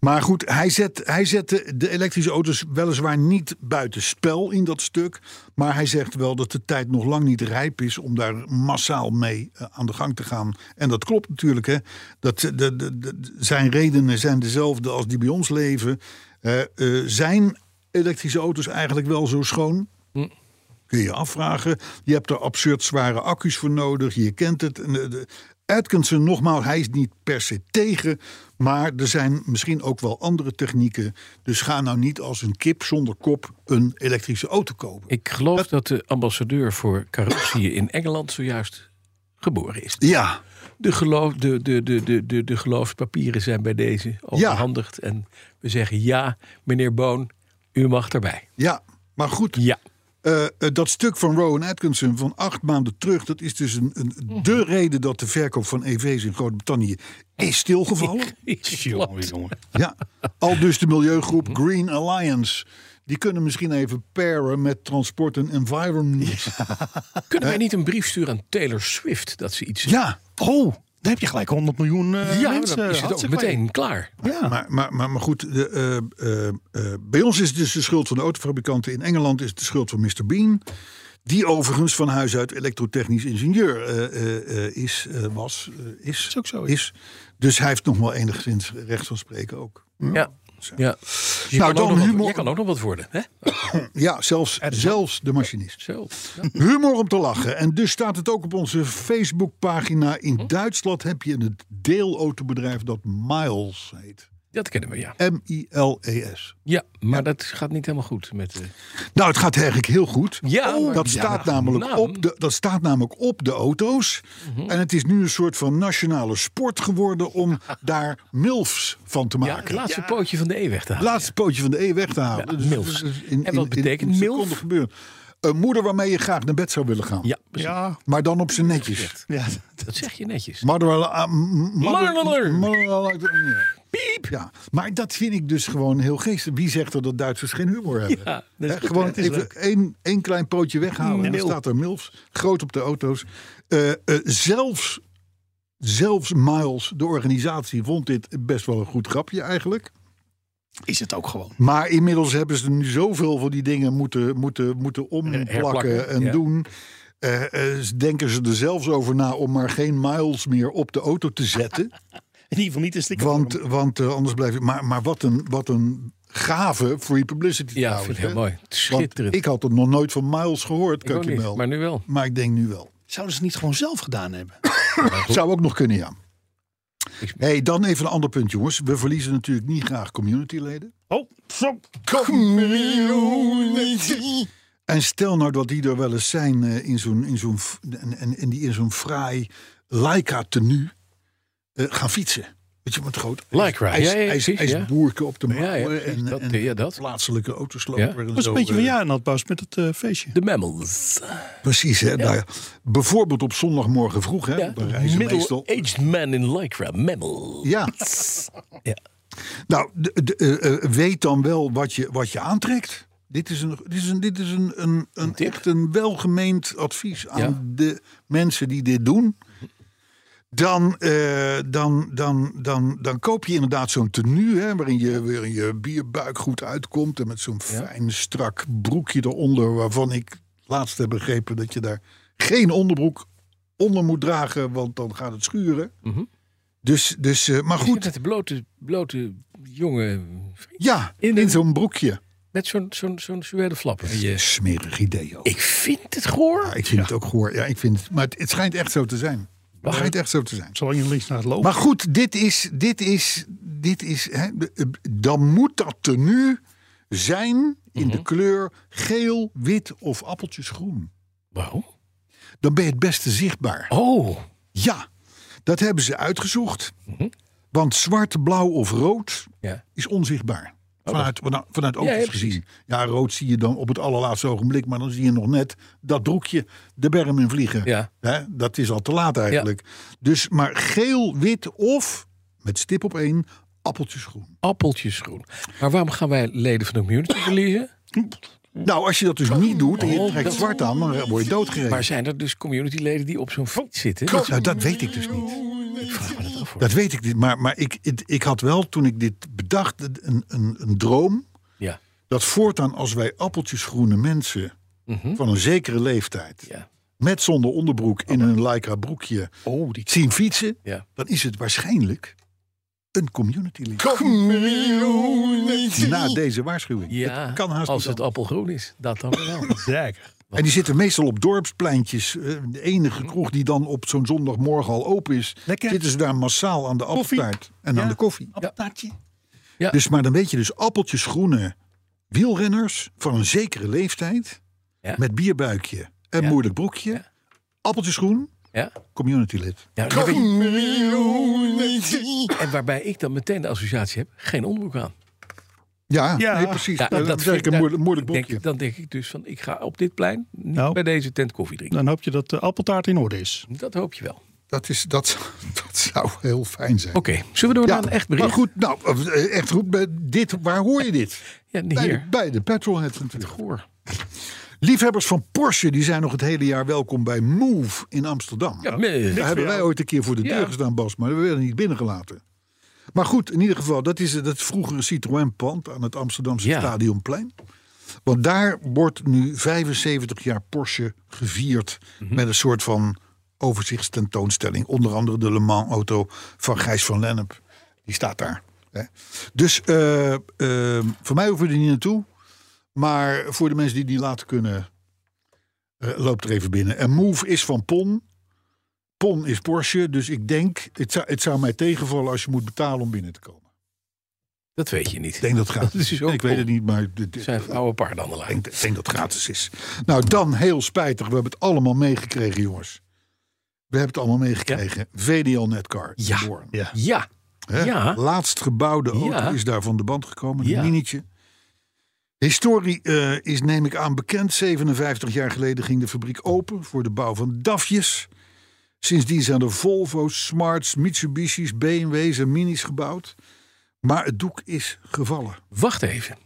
Speaker 2: Maar goed, hij zet, hij zet de, de elektrische auto's weliswaar niet buiten spel in dat stuk. Maar hij zegt wel dat de tijd nog lang niet rijp is om daar massaal mee eh, aan de gang te gaan. En dat klopt natuurlijk. Hè? Dat, eh, de, de, de- zijn redenen zijn dezelfde als die bij ons leven. Eh, eh, zijn elektrische auto's eigenlijk wel zo schoon? Kun je je afvragen. Je hebt er absurd zware accu's voor nodig. Je kent het. En, eh, de- Atkinson, nogmaals, hij is niet per se tegen. Maar er zijn misschien ook wel andere technieken. Dus ga nou niet als een kip zonder kop een elektrische auto kopen.
Speaker 3: Ik geloof dat de ambassadeur voor carrossieën in Engeland zojuist geboren is.
Speaker 2: Ja,
Speaker 3: De, geloof, de, de, de, de, de, de geloofspapieren zijn bij deze overhandigd. En we zeggen ja, meneer Boon, u mag erbij.
Speaker 2: Ja, maar goed.
Speaker 3: Ja.
Speaker 2: Eh, eh, dat stuk van Rowan Atkinson van acht maanden terug, dat is dus een, een, de reden dat de verkoop van EV's in Groot-Brittannië is stilgevallen.
Speaker 4: Jongen, jongen.
Speaker 2: Ja, al dus de milieugroep Green Alliance. Die kunnen misschien even paren met transport en environment. Ja,
Speaker 3: Kunnen wij niet een brief sturen aan Taylor Swift dat ze iets
Speaker 4: Oh, daar heb je gelijk 100 miljoen eh,
Speaker 3: Ja,
Speaker 4: mensen.
Speaker 3: dan is het ook
Speaker 4: hartstikke blij.
Speaker 3: meteen klaar.
Speaker 4: Ja.
Speaker 2: Maar, maar, maar, maar goed, de, eh, eh, eh, bij ons is het dus de schuld van de autofabrikanten. In Engeland is het de schuld van Mr. Bean. Die overigens van huis uit elektrotechnisch ingenieur eh, eh, eh, is, eh, was, eh, is.
Speaker 4: ook zo, ja.
Speaker 2: Is. Dus hij heeft nog wel enigszins recht van spreken ook.
Speaker 3: Ja. ja. Je,
Speaker 2: Nou,
Speaker 3: kan
Speaker 2: dan
Speaker 3: ook nog wat-
Speaker 2: humor-
Speaker 3: je kan ook nog wat worden. Hè?
Speaker 2: Ja, zelfs, zelfs de machinist.
Speaker 3: Zo.
Speaker 2: Humor om te lachen. En dus staat het ook op onze Facebookpagina. In
Speaker 3: Hm?
Speaker 2: Duitsland heb je een deelautobedrijf dat Miles heet.
Speaker 3: Dat kennen we, ja.
Speaker 2: M-I-L-E-S.
Speaker 3: Ja, maar dat gaat niet helemaal goed met... eh,
Speaker 2: Nou, het gaat eigenlijk heel goed. Oh,
Speaker 3: Ja, maar- nou.
Speaker 2: dat,
Speaker 3: ja,
Speaker 2: staat
Speaker 3: naam.
Speaker 2: namelijk op de, dat staat namelijk op de auto's.
Speaker 3: Mhm.
Speaker 2: En het is nu een soort van nationale sport geworden
Speaker 3: (laughs)
Speaker 2: om daar MILFs van te
Speaker 3: ja,
Speaker 2: maken.
Speaker 3: Ah, het laatste pootje van de E weg te halen.
Speaker 2: Laatste pootje van de E weg te halen.
Speaker 3: Ja,
Speaker 2: Dus-
Speaker 3: milfs.
Speaker 2: dus
Speaker 3: En wat betekent
Speaker 2: een
Speaker 3: milf?
Speaker 2: seconde gebeuren. Een moeder waarmee je graag naar bed zou willen gaan.
Speaker 3: Ja, precies.
Speaker 4: Ja.
Speaker 2: Maar dan op zijn netjes.
Speaker 4: Ja.
Speaker 3: dat zeg je netjes.
Speaker 2: Mother- uh, m- mother-
Speaker 3: Mother-
Speaker 2: mother- Ja, maar dat vind ik dus gewoon heel geestig. Wie zegt er dat Duitsers geen humor hebben?
Speaker 3: Ja, dat is
Speaker 2: Hè,
Speaker 3: goed,
Speaker 2: gewoon
Speaker 3: hè? Het is
Speaker 2: even
Speaker 3: leuk.
Speaker 2: één, één klein pootje weghalen. En dan
Speaker 3: Milf.
Speaker 2: staat er MILFs, groot op de auto's. Eh, eh, zelfs, zelfs Miles, de organisatie, vond dit best wel een goed grapje eigenlijk.
Speaker 4: Is het ook gewoon.
Speaker 2: Maar inmiddels hebben ze er nu zoveel van die dingen moeten, moeten, moeten omplakken
Speaker 3: Eh, herplakken,
Speaker 2: en
Speaker 3: ja.
Speaker 2: doen. Eh, eh, ze denken ze er zelfs over na om maar geen miles meer op de auto te zetten.
Speaker 4: In ieder geval niet een sticker.
Speaker 2: want want eh, anders blijf je. Maar, maar wat, een, wat een gave free publicity.
Speaker 3: Ja,
Speaker 2: trouwens,
Speaker 3: vind ik heel
Speaker 2: hè.
Speaker 3: mooi. Schitterend.
Speaker 2: Want ik had er nog nooit van miles gehoord,
Speaker 3: Ik ook
Speaker 2: kan ik je
Speaker 3: niet,
Speaker 2: wel.
Speaker 3: maar
Speaker 2: Maar,
Speaker 3: nu wel.
Speaker 2: ik denk nu wel.
Speaker 4: Zouden ze het niet gewoon zelf gedaan hebben?
Speaker 2: (coughs) Zou ook nog kunnen, ja.
Speaker 3: Ik-
Speaker 2: Hey, dan even een ander punt, jongens. We verliezen natuurlijk niet graag communityleden.
Speaker 4: Oh, zo.
Speaker 2: En stel nou dat die er wel eens zijn eh, in zo'n, in zo'n, f- en, en, en die in zo'n fraai Leica tenue eh, gaan fietsen. Weet je, met groot ijs-
Speaker 3: Lycra,
Speaker 2: ijs,
Speaker 3: ja, ja,
Speaker 2: ijs-
Speaker 3: precies, ja.
Speaker 2: ijsboerken op de mouwen.
Speaker 3: Ja, ja, precies,
Speaker 2: en,
Speaker 3: dat,
Speaker 2: en
Speaker 3: ja, dat.
Speaker 2: plaatselijke autosloper.
Speaker 3: Ja.
Speaker 2: en
Speaker 4: Dat is een
Speaker 2: zo,
Speaker 4: beetje van
Speaker 2: eh,
Speaker 4: ja en dat Bas met het eh, feestje.
Speaker 3: De mammals.
Speaker 2: Precies, hè. Nou ja, bijvoorbeeld op zondagmorgen vroeg, hè.
Speaker 3: Ja.
Speaker 2: Dan reizen meestal...
Speaker 3: Middle-aged man in Lycra. Mammal.
Speaker 2: Ja,
Speaker 3: Ja.
Speaker 2: nou, de, de, eh, eh, weet dan wel wat je, wat je aantrekt. Dit is, een, dit is, een, dit is een, een, een,
Speaker 3: tip.
Speaker 2: echt een welgemeend advies aan
Speaker 3: Ja.
Speaker 2: de mensen die dit doen. Dan, eh, dan, dan, dan, dan koop je inderdaad zo'n tenue, hè, waarin je weer je bierbuik goed uitkomt. En met zo'n fijn strak broekje eronder, waarvan ik laatst heb begrepen dat je daar geen onderbroek onder moet dragen, want dan gaat het schuren.
Speaker 3: Mhm.
Speaker 2: Dus, dus eh, maar goed,
Speaker 3: Met de blote, blote jongen.
Speaker 2: ja, in,
Speaker 3: In een-
Speaker 2: zo'n broekje.
Speaker 3: Met zo'n zo'n zo'n suède flappen.
Speaker 2: Smerig idee ook.
Speaker 3: Ik vind het goor.
Speaker 2: Ja, ik vind het ook gehoor. Ja, ik vind het, maar het, het schijnt echt zo te zijn. Het schijnt echt zo te zijn.
Speaker 4: Zolang je links naar het lopen.
Speaker 2: Maar goed, dit is, dit is, dit is, hè, eh, dan moet dat tenue zijn in de kleur geel, wit of appeltjesgroen.
Speaker 3: Waarom?
Speaker 2: Dan ben je het beste zichtbaar.
Speaker 3: Oh.
Speaker 2: Ja, dat hebben ze uitgezocht. Want zwart, blauw of rood
Speaker 3: Ja.
Speaker 2: is onzichtbaar. Vanuit, vanuit, vanuit oogjes
Speaker 3: Oh, Ja, ja, precies.
Speaker 2: gezien. Ja, rood zie je dan op het allerlaatste ogenblik. Maar dan zie je nog net dat broekje de berm in vliegen.
Speaker 3: Ja.
Speaker 2: Hè, dat is al te laat eigenlijk. Dus maar geel, wit of, met stip op één, appeltjesgroen.
Speaker 3: Appeltjesgroen. Maar waarom gaan wij leden van de community verliezen?
Speaker 2: Nou, als je dat dus niet doet en je
Speaker 3: Hm. Oh,
Speaker 2: trekt
Speaker 3: dat-
Speaker 2: zwart aan, dan word je doodgereden.
Speaker 3: Maar zijn er dus communityleden die op zo'n fiets zitten?
Speaker 2: Kom, nou, dat weet ik dus niet.
Speaker 3: Ik vraag me dat af. hoor.
Speaker 2: Dat weet ik niet. Maar, maar ik, ik, ik had wel, toen ik dit bedacht, een, een, een droom.
Speaker 3: Ja.
Speaker 2: dat voortaan als wij appeltjesgroene mensen van een zekere leeftijd
Speaker 3: Mhm. Ja.
Speaker 2: met zonder onderbroek in hun lycra broekje
Speaker 3: Oh, die.
Speaker 2: zien fietsen,
Speaker 3: Ja.
Speaker 2: dan is het waarschijnlijk een community leader. Na deze waarschuwing.
Speaker 3: Ja,
Speaker 2: Het kan haast
Speaker 3: als
Speaker 2: niet
Speaker 3: het appelgroen is. Dat dan wel.
Speaker 2: (laughs) En die zitten meestal op dorpspleintjes. Eh, De enige
Speaker 3: Mhm.
Speaker 2: kroeg die dan op zo'n zondagmorgen al open is,
Speaker 4: Lekker.
Speaker 2: zitten ze daar massaal aan de appeltaart en aan de koffie.
Speaker 4: Appeltaartje.
Speaker 3: Ja.
Speaker 2: (laughs) Dus, maar dan weet je dus appeltjesgroene wielrenners van een zekere leeftijd.
Speaker 3: Ja.
Speaker 2: Met bierbuikje en moeilijk broekje. Appeltjesgroen.
Speaker 3: Ja?
Speaker 2: Community lid.
Speaker 3: Ja, daar ben je- en waarbij ik dan meteen de associatie heb, geen onderbroek aan.
Speaker 2: Ja,
Speaker 4: Ja.
Speaker 2: nee, precies.
Speaker 3: Ja,
Speaker 2: dat is eigenlijk een
Speaker 3: daar-
Speaker 2: moeilijk, moeilijk
Speaker 3: denk-
Speaker 2: boekje.
Speaker 3: dan denk ik dus van, ik ga op dit plein niet
Speaker 4: Nou.
Speaker 3: bij deze tent koffie drinken.
Speaker 4: Dan hoop je dat de appeltaart in orde is.
Speaker 2: Nou.
Speaker 3: Dat hoop je wel.
Speaker 2: Dat, is, dat, dat zou (laughs) heel fijn zijn.
Speaker 3: Oké, zullen we door naar een echt bericht?
Speaker 2: Maar goed, nou, eh, echt goed. bij Dit, waar hoor je dit?
Speaker 3: ja,
Speaker 2: Bij de,
Speaker 3: hier.
Speaker 2: bij de petrolhead natuurlijk.
Speaker 3: Goor.
Speaker 2: Liefhebbers van Porsche die zijn nog het hele jaar welkom bij Move in Amsterdam.
Speaker 3: Ja, meh. Niks
Speaker 2: Daar
Speaker 3: voor
Speaker 2: hebben wij
Speaker 3: jou.
Speaker 2: ooit een keer voor de deur
Speaker 3: Ja.
Speaker 2: gestaan, Bas, maar we werden niet binnengelaten. Maar goed, in ieder geval, dat is eh, dat vroegere Citroën-pand aan het Amsterdamse
Speaker 3: Ja.
Speaker 2: Stadionplein. Want daar wordt nu 75 jaar Porsche gevierd
Speaker 3: Mhm.
Speaker 2: met een soort van overzichtstentoonstelling. Onder andere de Le Mans-auto van Gijs van Lennep. Die staat daar. Hè. Dus eh, eh, voor mij hoeven we er niet naartoe. Maar voor de mensen die die laten kunnen, eh, loopt er even binnen. En Move is van Pon. Pon is Porsche, dus ik denk, het zou, het zou mij tegenvallen als je moet betalen om binnen te komen.
Speaker 3: Dat weet je niet.
Speaker 2: Ik denk dat het
Speaker 3: (laughs) Dat is
Speaker 2: gratis
Speaker 3: dus
Speaker 2: is.
Speaker 3: ook
Speaker 2: Ik weet
Speaker 3: Pon.
Speaker 2: het niet, maar dit- dit-
Speaker 3: Dat zijn oude paardenhandelaren.
Speaker 2: ik denk, ik denk dat het gratis is. Nou, dan heel spijtig. We hebben het allemaal meegekregen, jongens. We hebben het allemaal meegekregen. VDL Netcar. in
Speaker 3: Ja.
Speaker 2: Doorn.
Speaker 4: Ja.
Speaker 3: Ja,
Speaker 2: Hè?
Speaker 3: Ja.
Speaker 2: Laatst gebouwde auto
Speaker 3: Ja.
Speaker 2: is daar van de band gekomen. Een
Speaker 3: Ja.
Speaker 2: minietje. Historie eh, is, neem ik aan, bekend. 57 jaar geleden ging de fabriek open voor de bouw van DAFjes. Sindsdien zijn er Volvo's, Smarts, Mitsubishi's, BMW's en Minis gebouwd. Maar het doek is gevallen.
Speaker 3: wacht even.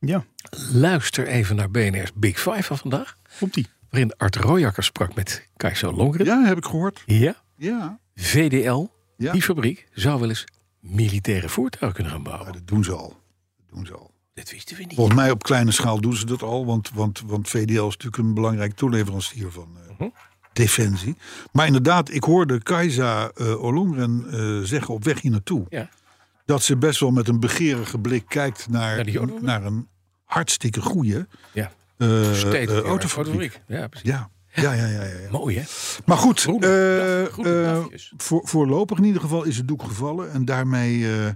Speaker 4: Ja,
Speaker 3: Luister even naar BNR's Big Five van vandaag.
Speaker 4: komt die.
Speaker 3: Waarin Art Royakker sprak met Kajso Longren.
Speaker 2: Ja, heb ik gehoord.
Speaker 3: Ja.
Speaker 2: Ja,
Speaker 3: VDL,
Speaker 2: Ja.
Speaker 3: die fabriek, zou wel eens militaire voertuigen kunnen gaan bouwen.
Speaker 2: maar dat doen ze al. Dat doen ze al.
Speaker 3: Dat wisten we niet.
Speaker 2: Volgens mij op kleine schaal doen ze dat al, want, want, want VDL is natuurlijk een belangrijk toeleverancier van eh, defensie. Maar inderdaad, ik hoorde Kajsa eh Olongren eh, zeggen op weg hier naartoe
Speaker 3: Ja.
Speaker 2: dat ze best wel met een begerige blik kijkt
Speaker 3: Naar
Speaker 2: naar,
Speaker 3: die autofabriek.
Speaker 2: naar een hartstikke goede
Speaker 3: Ja.
Speaker 2: eh,
Speaker 3: Steeds
Speaker 2: eh,
Speaker 3: meer
Speaker 2: autofabriek.
Speaker 3: Ja, precies.
Speaker 2: Ja, ja, ja, ja. ja, ja.
Speaker 3: Mooi, hè?
Speaker 2: Maar goed,
Speaker 3: Groene
Speaker 2: eh,
Speaker 3: dag, groene
Speaker 2: eh,
Speaker 3: dagjes.
Speaker 2: voor, voorlopig in ieder geval is het doek gevallen. En daarmee, eh,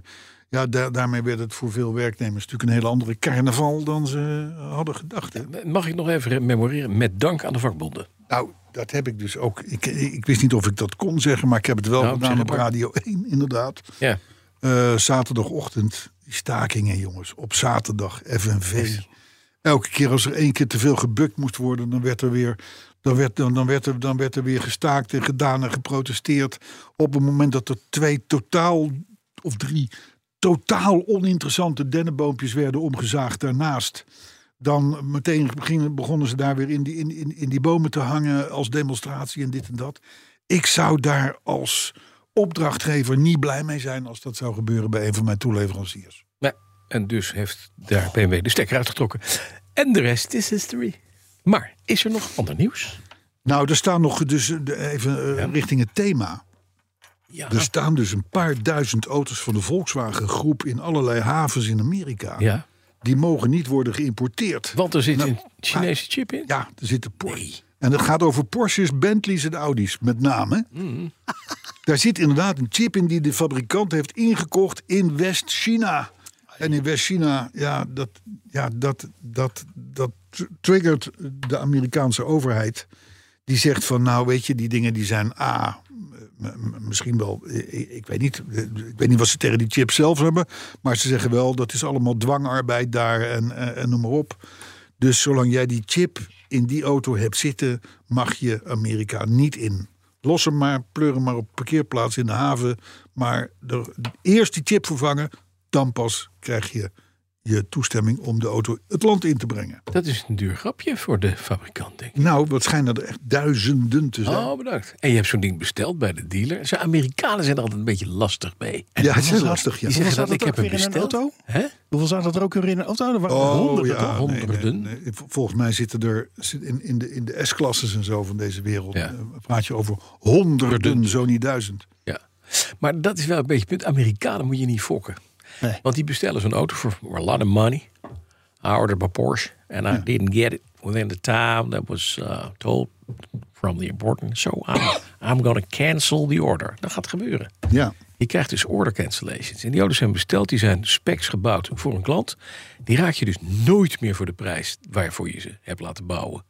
Speaker 2: ja, daar- daarmee werd het voor veel werknemers natuurlijk een hele andere carnaval dan ze eh, hadden gedacht. Hè?
Speaker 3: Mag ik nog even memoreren? Met dank aan de vakbonden.
Speaker 2: Nou, dat heb ik dus ook. Ik, ik wist niet of ik dat kon zeggen, maar ik heb het wel
Speaker 3: Nou,
Speaker 2: gedaan
Speaker 3: zeg
Speaker 2: op
Speaker 3: maar.
Speaker 2: Radio 1, inderdaad.
Speaker 3: Ja.
Speaker 2: Eh, zaterdagochtend, die stakingen jongens, op zaterdag, FNV. Elke keer als er één keer te veel gebukt moest worden, dan werd er weer, dan werd, dan, dan werd er, dan werd er weer gestaakt en gedaan en geprotesteerd. Op het moment dat er twee totaal, of drie totaal oninteressante dennenboompjes werden omgezaagd daarnaast. Dan meteen beginnen- begonnen ze daar weer in die, in, in, in die bomen te hangen als demonstratie en dit en dat. Ik zou daar als opdrachtgever niet blij mee zijn als dat zou gebeuren bij een van mijn toeleveranciers.
Speaker 3: Nou, en dus heeft daar BMW de stekker uitgetrokken. En de rest is history. Maar is er nog ander nieuws?
Speaker 2: Nou, er staan nog dus eh, de- even eh, richting het thema.
Speaker 3: Ja.
Speaker 2: Er staan dus een paar duizend auto's van de Volkswagen groep in allerlei havens in Amerika.
Speaker 3: ja.
Speaker 2: Die mogen niet worden geïmporteerd.
Speaker 3: Want er zit
Speaker 2: Nou,
Speaker 3: een Chinese chip in.
Speaker 2: Ja, er zitten Porsche. En het gaat over Porsches, Bentleys en Audi's met name. (laughs) Daar zit inderdaad een chip in die de fabrikant heeft ingekocht in West-China. En in West-China, ja, dat, ja dat, dat, dat tr- triggert de Amerikaanse overheid. Die zegt van, nou weet je, die dingen die zijn A, m- m- misschien wel, eh, ik, ik weet niet, eh, ik weet niet wat ze tegen die chips zelf hebben. Maar ze zeggen wel, dat is allemaal dwangarbeid daar en, eh, en noem maar op. Dus zolang jij die chip in die auto hebt zitten, mag je Amerika niet in. Los hem maar, pleur hem maar op parkeerplaats in de haven. Maar er- eerst die chip vervangen, dan pas krijg je je toestemming om de auto het land in te brengen.
Speaker 3: Dat is een duur grapje voor de fabrikant, denk ik.
Speaker 2: Nou, wat schijnen er echt duizenden te zijn.
Speaker 3: Oh, bedankt. En je hebt zo'n ding besteld bij de dealer. Ze Amerikanen zijn er altijd een beetje lastig mee.
Speaker 2: ja, het is lastig, ja.
Speaker 3: Die zeggen
Speaker 4: zat
Speaker 3: dan, ik
Speaker 4: het
Speaker 3: heb
Speaker 4: ook
Speaker 3: hem
Speaker 4: weer in een
Speaker 3: besteld.
Speaker 4: auto?
Speaker 3: Hè?
Speaker 4: Hoeveel zaten er ook weer in een auto? Er waren
Speaker 2: Oh,
Speaker 3: Oh,
Speaker 4: honderden, toch?
Speaker 3: honderden.
Speaker 2: Vol- Volgens mij zitten er zit in, in de, in de S-klasses en zo van deze wereld.
Speaker 3: Ja.
Speaker 2: eh, praat je over honderden, zo niet duizend.
Speaker 3: Ja. Maar dat is wel een beetje het punt. Amerikanen moet je niet fokken.
Speaker 4: Nee.
Speaker 3: Want die bestellen zo'n auto voor a lot of money. I ordered my Porsche and I didn't get it within the time that was uh, told from the important. So I'm, I'm going to cancel the order. Dat gaat gebeuren.
Speaker 2: Ja.
Speaker 3: Je krijgt dus order cancellations. En die auto's zijn besteld, die zijn specs gebouwd voor een klant. Die raak je dus nooit meer voor de prijs waarvoor je ze hebt laten bouwen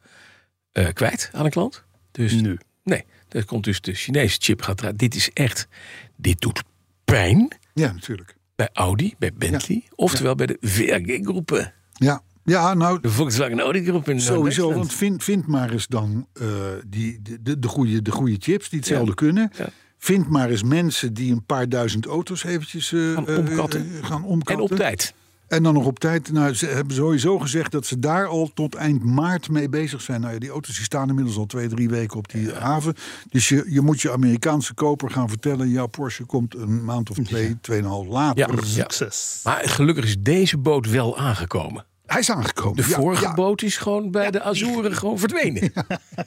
Speaker 3: eh, kwijt aan een klant. Dus,
Speaker 4: Nu.
Speaker 3: Nee, Daar komt dus de Chinese chip. Gaat eraan. dit is echt, dit doet pijn
Speaker 2: Ja, natuurlijk.
Speaker 3: bij Audi, bij Bentley. Oftewel bij de VAG-groepen.
Speaker 2: Ja, ja nou,
Speaker 3: De Volkswagen Audi-groep in
Speaker 2: Sowieso,
Speaker 3: Duitsland.
Speaker 2: want vind, vind maar eens dan eh, die, de- de, de, goede, de goede chips die hetzelfde kunnen.
Speaker 3: Ja.
Speaker 2: Vind maar eens mensen die een paar duizend auto's eventjes eh,
Speaker 3: Gaan
Speaker 2: eh,
Speaker 3: omkatten.
Speaker 2: eh, gaan
Speaker 3: En
Speaker 2: omkatten.
Speaker 3: op tijd.
Speaker 2: En dan nog op tijd. Nou, ze hebben sowieso gezegd dat ze daar al tot eind maart mee bezig zijn. Nou ja, die auto's die staan inmiddels al twee, drie weken op die haven. Dus je, je moet je Amerikaanse koper gaan vertellen... jouw Porsche komt een maand of twee, tweeënhalf
Speaker 3: Ja,
Speaker 2: later.
Speaker 3: ja.
Speaker 4: Succes.
Speaker 3: Maar gelukkig is deze boot wel aangekomen.
Speaker 2: Hij is aangekomen.
Speaker 3: De
Speaker 2: Ja,
Speaker 3: vorige
Speaker 2: ja.
Speaker 3: boot is gewoon bij de Azoren
Speaker 2: (laughs)
Speaker 3: gewoon verdwenen.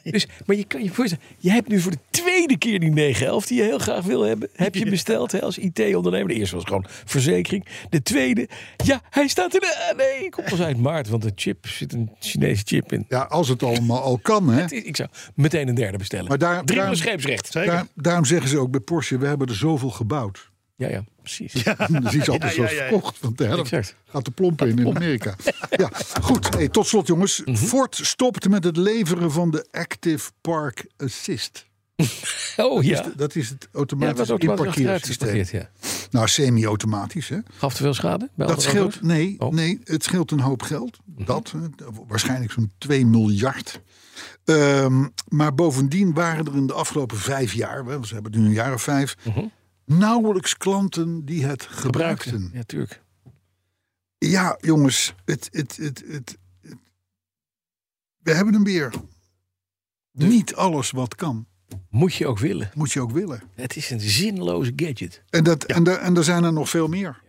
Speaker 3: Dus, maar je kan je voorstellen, je hebt nu voor de tweede keer die 911 die je heel graag wil hebben. Heb je besteld hè, als IT-ondernemer. De eerste was gewoon verzekering. De tweede, ja, hij staat in de... ah, Nee, komt pas uit maart, want de chip zit een Chinese chip in.
Speaker 2: Ja, als het allemaal al kan, hè.
Speaker 3: Ik zou meteen een derde bestellen.
Speaker 2: Maar daar-
Speaker 3: Drie
Speaker 2: daar-
Speaker 3: keer scheepsrecht.
Speaker 2: Daar- daarom zeggen ze ook bij Porsche, we hebben er zoveel
Speaker 3: (laughs)
Speaker 2: gebouwd.
Speaker 3: Ja, ja, precies.
Speaker 2: Dus iets anders wordt
Speaker 4: ja, ja, ja.
Speaker 2: verkocht. Want de helft
Speaker 3: Exact.
Speaker 2: gaat de plompen in in Amerika. Ja, goed. Hey, tot slot jongens.
Speaker 3: Mhm.
Speaker 2: Ford stopt met het leveren van de Active Park Assist.
Speaker 3: Oh ja.
Speaker 2: Dat is Dus het
Speaker 3: Ja, dat
Speaker 2: automatisch
Speaker 3: was ook
Speaker 2: inparkeersysteem.
Speaker 3: geparkeerd, ja.
Speaker 2: Nou, semi-automatisch hè.
Speaker 3: Gaf te veel schade? Bij
Speaker 2: Dat
Speaker 3: andere
Speaker 2: scheelt,
Speaker 3: auto's?
Speaker 2: nee,
Speaker 3: Oh. Mhm.
Speaker 2: nee, het scheelt een hoop geld. Dat, eh, waarschijnlijk zo'n 2 miljard. Ehm, maar bovendien waren er in de afgelopen vijf jaar, we ze hebben het nu een jaar of vijf,
Speaker 3: Mhm.
Speaker 2: nauwelijks klanten die het
Speaker 3: Gebruikte.
Speaker 2: gebruikten.
Speaker 3: Ja, tuurlijk.
Speaker 2: Ja, jongens, het, het, het, het, het- we hebben hem weer.
Speaker 3: Dus?
Speaker 2: Niet alles wat kan,
Speaker 3: Moet je ook willen.
Speaker 2: moet je ook willen.
Speaker 3: Het is een zinloze gadget.
Speaker 2: En, dat, en, daar- en er zijn er nog veel meer.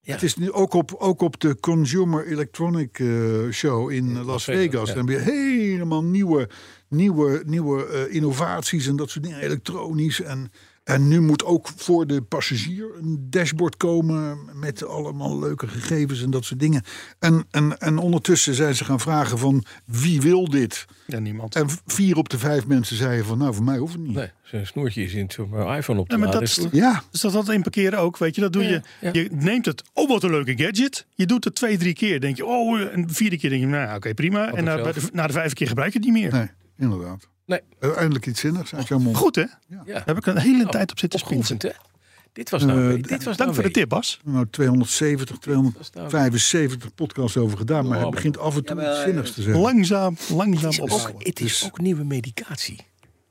Speaker 3: Ja.
Speaker 2: Het is nu ook op, ook op de Consumer Electronic eh, Show in eh, Las
Speaker 3: Vegas,
Speaker 2: Vegas.
Speaker 3: ja.
Speaker 2: Dan heb je helemaal nieuwe, nieuwe, nieuwe eh, innovaties en dat soort dingen, elektronisch. En, en nu moet ook voor de passagier een dashboard komen met allemaal leuke gegevens en dat soort dingen. En, en, en ondertussen zijn ze gaan vragen van wie wil dit?
Speaker 4: Ja, niemand.
Speaker 2: En vier op de vijf mensen zeiden van nou voor mij hoeft het niet.
Speaker 3: Nee, zijn snoertje is in om mijn iPhone op te
Speaker 4: Ja, maar
Speaker 3: laden.
Speaker 4: dat is-
Speaker 2: Ja,
Speaker 4: Dus dat had in parkeren ook, weet je. Dat doe je.
Speaker 3: ja.
Speaker 4: Je neemt het, oh wat een leuke gadget. Je doet het twee, drie keer. Denk je, oh, eh, en de vierde keer denk je, nou ja, oké, prima. En na,
Speaker 3: vanzelf.
Speaker 4: bij de- na de vijfde keer gebruik je het niet meer.
Speaker 2: nee, inderdaad.
Speaker 3: Nee.
Speaker 2: Uiteindelijk iets zinnigs uit jouw mond.
Speaker 4: Goed, hè?
Speaker 3: ja.
Speaker 4: Daar heb ik een hele
Speaker 3: Nou,
Speaker 4: tijd op zitten springen.
Speaker 3: Opgeoefend, hè? Dit was nou...
Speaker 2: Eh,
Speaker 3: dit was
Speaker 4: Dank
Speaker 3: nou
Speaker 4: voor de
Speaker 3: weer-
Speaker 4: tip, Bas.
Speaker 2: Nou, 270,
Speaker 3: is nou-
Speaker 2: 275 podcasts over gedaan. Maar hij begint af en toe iets zinnigs te zeggen.
Speaker 4: Langzaam, langzaam
Speaker 3: Het is
Speaker 4: opbouwen.
Speaker 3: ook, het is ook nieuwe medicatie.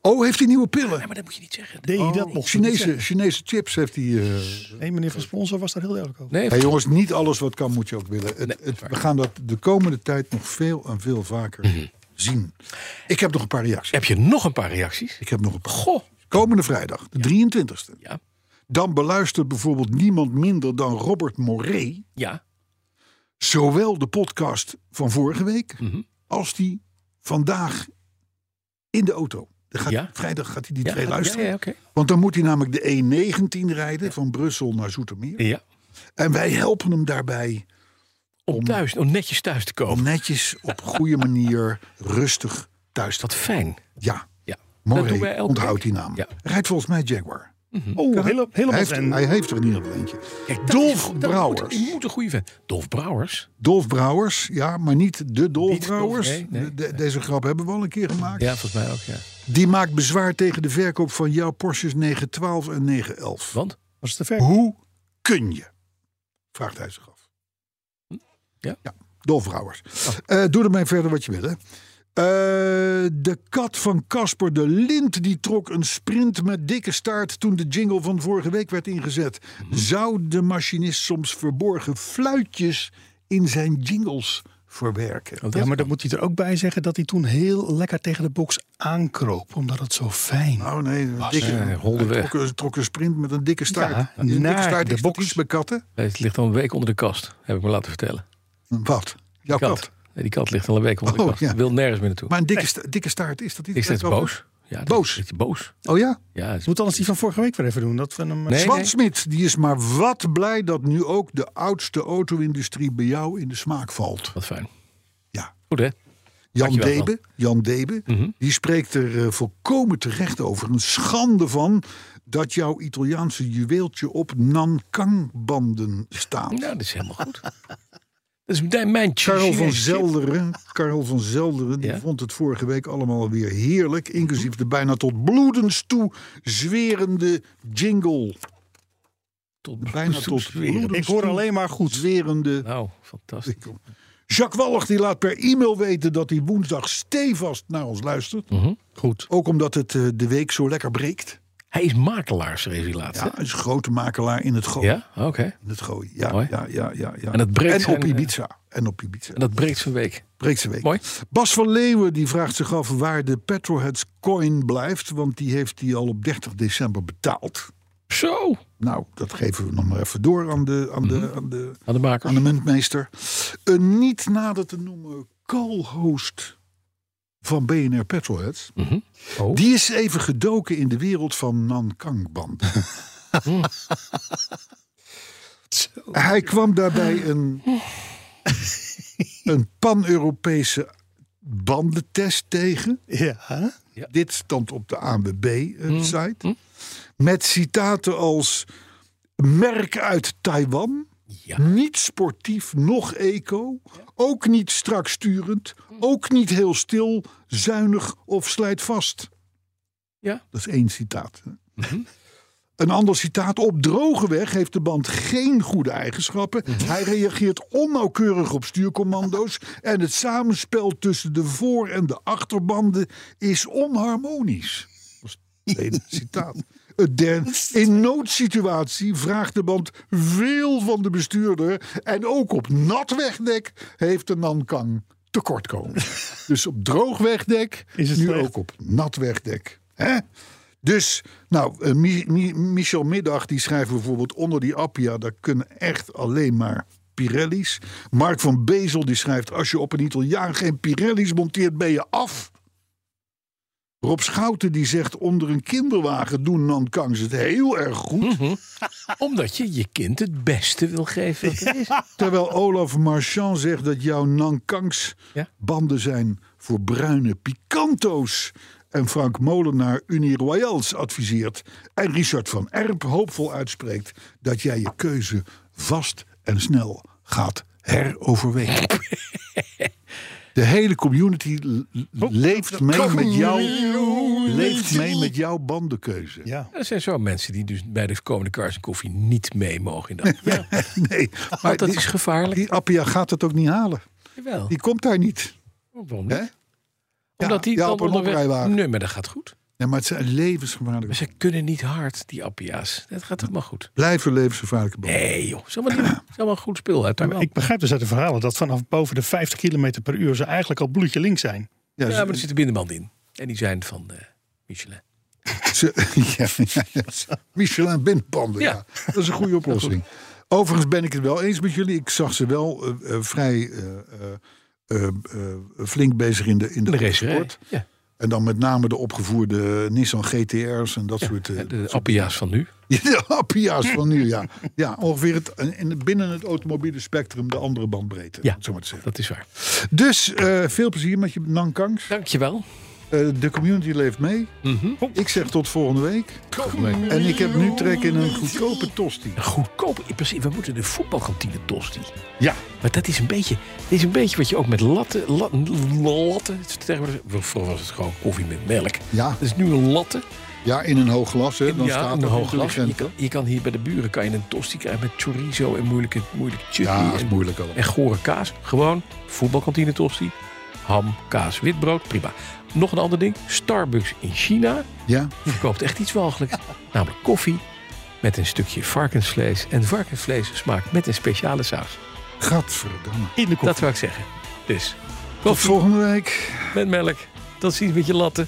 Speaker 2: Oh, heeft hij nieuwe pillen? Oh,
Speaker 3: Nee, maar dat moet je niet zeggen.
Speaker 4: Deed je dat nog?
Speaker 2: Chinese, Chinese chips heeft hij. eh.
Speaker 4: Nee, meneer Van Sponsor was daar heel duidelijk over.
Speaker 3: Nee,
Speaker 2: Hey, jongens, niet alles wat kan moet je ook willen. Het, het- we gaan dat de komende tijd nog veel en veel vaker
Speaker 3: Mhm.
Speaker 2: zien. Ik heb nog een paar reacties.
Speaker 3: heb je nog een paar reacties?
Speaker 2: Ik heb nog een paar.
Speaker 3: Goh.
Speaker 2: Komende vrijdag, de 23e.
Speaker 3: Ja.
Speaker 2: Dan beluistert bijvoorbeeld niemand minder dan Robert Moret.
Speaker 3: Ja.
Speaker 2: zowel de podcast van vorige week
Speaker 3: Mhm.
Speaker 2: als die vandaag in de auto. Dan gaat,
Speaker 3: Ja.
Speaker 2: Vrijdag gaat hij die
Speaker 3: Ja,
Speaker 2: twee
Speaker 3: ja,
Speaker 2: luisteren.
Speaker 3: ja, oké.
Speaker 2: Want dan moet hij namelijk de E19 rijden van Brussel naar Zoetermeer.
Speaker 3: Ja.
Speaker 2: En wij helpen hem daarbij
Speaker 3: Om thuis, om netjes thuis te
Speaker 2: om
Speaker 3: komen.
Speaker 2: netjes op goede manier rustig thuis te
Speaker 3: Wat fijn.
Speaker 2: Ja,
Speaker 3: Ja. Dat doen wij
Speaker 2: Moré
Speaker 3: elke
Speaker 2: onthoudt
Speaker 3: week.
Speaker 2: die naam.
Speaker 3: Ja. Mhm.
Speaker 2: Hij Rijdt volgens mij Jaguar.
Speaker 4: Oh, hele-
Speaker 2: Hij
Speaker 4: helemaal
Speaker 2: heeft,
Speaker 4: fan.
Speaker 2: hij heeft er in ieder geval eentje.
Speaker 3: Kijk, dat is-
Speaker 2: Dolf
Speaker 3: dat Moet,
Speaker 2: Brouwers.
Speaker 3: je moet een goede vent. Dolf Brouwers?
Speaker 2: Dolf Brouwers, ja, maar niet de Dolf
Speaker 3: Niet Dolf,
Speaker 2: Brouwers.
Speaker 3: nee, nee.
Speaker 2: De- de- deze grap hebben we al een keer gemaakt.
Speaker 3: Ja, volgens mij ook, ja.
Speaker 2: Die maakt bezwaar tegen de verkoop van jouw Porsches 912 en 911.
Speaker 3: Want?
Speaker 4: Was het te ver?
Speaker 2: Hoe kun je? Vraagt hij zich af.
Speaker 3: Ja.
Speaker 2: ja Dolfrouwers. Eh, doe ermee verder wat je wil, hè. Eh, de kat van Casper de Lint die trok een sprint met dikke staart toen de jingle van vorige week werd ingezet. Zou de machinist soms verborgen fluitjes in zijn jingles verwerken?
Speaker 4: Ja, maar dan moet hij er ook bij zeggen dat hij toen heel lekker tegen de box aankroop. Omdat het zo fijn
Speaker 2: Oh nee, een dikke,
Speaker 3: eh, holde
Speaker 2: hij
Speaker 3: weg.
Speaker 2: trok, een- trok een sprint met een dikke staart.
Speaker 4: Ja,
Speaker 2: Is een dikke
Speaker 4: naar
Speaker 2: staart
Speaker 4: de
Speaker 2: is
Speaker 4: box.
Speaker 2: iets bij katten.
Speaker 3: Het ligt al een week onder de kast, heb ik me laten
Speaker 4: Oh,
Speaker 3: vertellen.
Speaker 2: Wat? Jouw kat.
Speaker 3: Kat. Nee, die kat ligt al een week onder de
Speaker 2: Oh,
Speaker 3: kast.
Speaker 2: ja.
Speaker 3: Wil nergens meer naartoe.
Speaker 2: Maar een dikke, sta- dikke staart is dat iets?
Speaker 3: Ik steeds
Speaker 2: dat wel-
Speaker 3: boos. Ja, dat
Speaker 2: Boos?
Speaker 3: Is, dat is boos.
Speaker 2: Oh ja?
Speaker 3: Ja, dat is-
Speaker 4: Moet anders die van vorige week weer even doen. Dat we hem...
Speaker 3: Nee,
Speaker 2: Swan
Speaker 3: nee.
Speaker 2: Smit, die is maar wat blij dat nu ook de oudste auto-industrie bij jou in de smaak valt.
Speaker 3: Wat fijn.
Speaker 2: Ja.
Speaker 3: Goed hè?
Speaker 2: Jan
Speaker 3: Dankjewel, Mhm.
Speaker 2: Debe, Jan Debe die spreekt er eh, volkomen terecht over. Een schande van dat jouw Italiaanse juweeltje op Nankang-banden staat. (laughs)
Speaker 3: Nou, dat is helemaal goed. Dat is mijn- mijn
Speaker 2: Karel van
Speaker 3: Chinees shit.
Speaker 2: Zelderen, Karel van Zelderen die
Speaker 3: Ja?
Speaker 2: vond het vorige week allemaal weer heerlijk. Inclusief de bijna tot bloedens toe zwerende jingle.
Speaker 3: Tot
Speaker 2: Bijna tot bloedens
Speaker 4: Ik hoor
Speaker 2: toe
Speaker 4: alleen maar goed.
Speaker 2: Zwerende
Speaker 3: Nou, fantastisch.
Speaker 2: jingle. Jacques Wallig die laat per e-mail weten dat hij woensdag stevast naar ons luistert.
Speaker 3: Mhm. Goed.
Speaker 2: Ook omdat het eh, de week zo lekker breekt.
Speaker 3: Hij is makelaar, schreef hij laatst.
Speaker 2: Ja,
Speaker 3: hè?
Speaker 2: hij is een grote makelaar in het gooien.
Speaker 3: Ja, oké.
Speaker 2: In het gooien. Ja,
Speaker 3: Mooi.
Speaker 2: ja, ja, ja, ja.
Speaker 3: En dat breekt
Speaker 2: en op
Speaker 3: zijn, eh,
Speaker 2: Ibiza. En op Ibiza.
Speaker 3: En dat breekt zijn week.
Speaker 2: Breekse week.
Speaker 3: Mooi.
Speaker 2: Bas van Leeuwen die vraagt zich af waar de Petroheads coin blijft. Want die heeft hij al op 30 december betaald.
Speaker 3: Zo,
Speaker 2: Nou, dat geven we nog maar even door aan de, aan de,
Speaker 3: Mhm.
Speaker 2: aan de,
Speaker 3: aan de maker.
Speaker 2: aan de muntmeester. Een eh, niet nader te noemen co-host van BNR Petroheads.
Speaker 3: Mhm. Oh.
Speaker 2: Die is even gedoken in de wereld van Nankang-banden. (laughs) Hij kwam daarbij een, een pan-Europese bandentest tegen.
Speaker 4: Ja.
Speaker 2: Dit stond op eh, de ANWB-site. Met citaten als... Merk uit Taiwan.
Speaker 3: Ja.
Speaker 2: Niet sportief, nog eco. Ook niet strak sturend. Ook niet heel stil, zuinig of slijt vast.
Speaker 3: Ja.
Speaker 2: Dat is één citaat. hè.
Speaker 4: Mhm.
Speaker 2: Een ander citaat. Op droge weg heeft de band geen goede eigenschappen.
Speaker 4: Mhm.
Speaker 2: Hij reageert onnauwkeurig op stuurcommando's. En het samenspel tussen de voor- en de achterbanden is onharmonisch. Dat is het tweede citaat. Het derde. In noodsituatie vraagt de band veel van de bestuurder. En ook op nat wegdek heeft de Nankang
Speaker 4: (laughs)
Speaker 2: tekortkomen. Dus op droog wegdek,
Speaker 4: Is het
Speaker 2: nu
Speaker 4: slecht?
Speaker 2: ook op nat wegdek. Hè? Dus, nou, eh, Mi- Mi- Michel Middag die schrijft bijvoorbeeld onder die Appia, daar kunnen echt alleen maar Pirelli's. Mark van Bezel die schrijft, als je op een Italiaan geen Pirelli's monteert, ben je af. Rob Schouten die zegt, onder een kinderwagen doen Nankangs het heel erg goed.
Speaker 3: Omdat je je kind het beste wil
Speaker 2: (laughs)
Speaker 3: geven wat er is.
Speaker 2: Terwijl Olaf Marchand zegt dat jouw Nankangs
Speaker 3: Ja.
Speaker 2: banden zijn voor bruine picanto's. En Frank Molenaar Uniroyals adviseert. En Richard van Erp hoopvol uitspreekt dat jij je keuze vast en snel gaat heroverwegen. De hele community l-
Speaker 3: Oh,
Speaker 2: l- leeft mee, met jou, leeft mee met jouw bandenkeuze.
Speaker 4: Ja.
Speaker 3: Er zijn zo mensen die dus bij de komende kaars en koffie niet mee mogen in dat. Ja,
Speaker 2: (laughs) Nee, maar
Speaker 3: want dat
Speaker 2: die,
Speaker 3: is gevaarlijk.
Speaker 2: die Appia gaat het ook niet halen.
Speaker 3: Jawel.
Speaker 2: Die komt daar niet.
Speaker 3: Waarom
Speaker 2: Hè?
Speaker 3: niet? Omdat die
Speaker 2: ja,
Speaker 3: dan
Speaker 2: op een
Speaker 3: onderweg...
Speaker 2: oprijwagen.
Speaker 3: Nee, maar dat gaat goed.
Speaker 2: Ja, maar het zijn levensgevaarlijke
Speaker 3: Maar ze kunnen niet hard, die appia's. Dat gaat helemaal goed.
Speaker 2: Blijven levensgevaarlijke banden.
Speaker 3: Nee joh, zomaar een goed spul uit Taiwan.
Speaker 4: Ik begrijp dus uit de verhalen dat vanaf boven de 50 km per uur ze eigenlijk al bloedje links zijn.
Speaker 2: Ja,
Speaker 3: Ja,
Speaker 2: ze-
Speaker 3: maar er zit een binnenband in. En die zijn van eh, Michelin.
Speaker 2: Ze- (laughs) ja, ja, ja. Michelin binnenbanden, ja.
Speaker 3: Ja.
Speaker 2: Dat is een goede oplossing. Overigens ben ik het wel eens met jullie. Ik zag ze wel eh, eh, vrij eh, eh, eh, eh, flink bezig in de, in de,
Speaker 3: De racerij.
Speaker 2: sport.
Speaker 3: Ja,
Speaker 2: En dan met name de opgevoerde Nissan GTR's en dat soort... eh,
Speaker 3: de
Speaker 2: (laughs)
Speaker 3: appia's van nu.
Speaker 2: de appia's van nu, ja. Ja, ongeveer het, in, het- binnen het automobiele spectrum de andere bandbreedte.
Speaker 3: Ja.
Speaker 2: om het Zo maar te zeggen.
Speaker 3: Dat is waar.
Speaker 2: Dus eh, veel plezier met je Nankangs.
Speaker 3: Dankjewel.
Speaker 2: Eh, de community leeft mee. Ik zeg tot volgende week. En ik heb nu trek in een goedkope tosti.
Speaker 3: Goedkoop, in principe, we moeten de voetbalkantine tosti.
Speaker 2: Ja.
Speaker 3: Maar dat is een beetje, dat is een beetje wat je ook met latten, latten, latten het is tegenwoordig, vroeger was het gewoon koffie met melk.
Speaker 2: Ja.
Speaker 3: Dat is nu een latte.
Speaker 2: Ja, in een hoog glas. Hè. Dan
Speaker 3: ja,
Speaker 2: staat
Speaker 3: een
Speaker 2: er
Speaker 3: hoog glas. Je
Speaker 2: intelligent.
Speaker 3: kan, je kan hier bij de buren kan je een tosti krijgen met chorizo en moeilijke, moeilijke chutney.
Speaker 2: Ja, is
Speaker 3: en-
Speaker 2: moeilijk allemaal.
Speaker 3: En gore kaas. Gewoon voetbalkantine tosti. Ham, kaas, witbrood. Prima. Nog een ander ding. Starbucks in
Speaker 2: (laughs)
Speaker 3: China
Speaker 2: Ja.
Speaker 3: verkoopt echt iets walgelijks. Namelijk koffie met een stukje varkensvlees. En varkensvlees smaakt met een speciale saus.
Speaker 2: Gadverdamme.
Speaker 4: In de kop.
Speaker 3: Dat wil ik zeggen. Dus,
Speaker 2: Tot
Speaker 3: koffie
Speaker 2: volgende week.
Speaker 3: met melk. Tot ziens met je latten.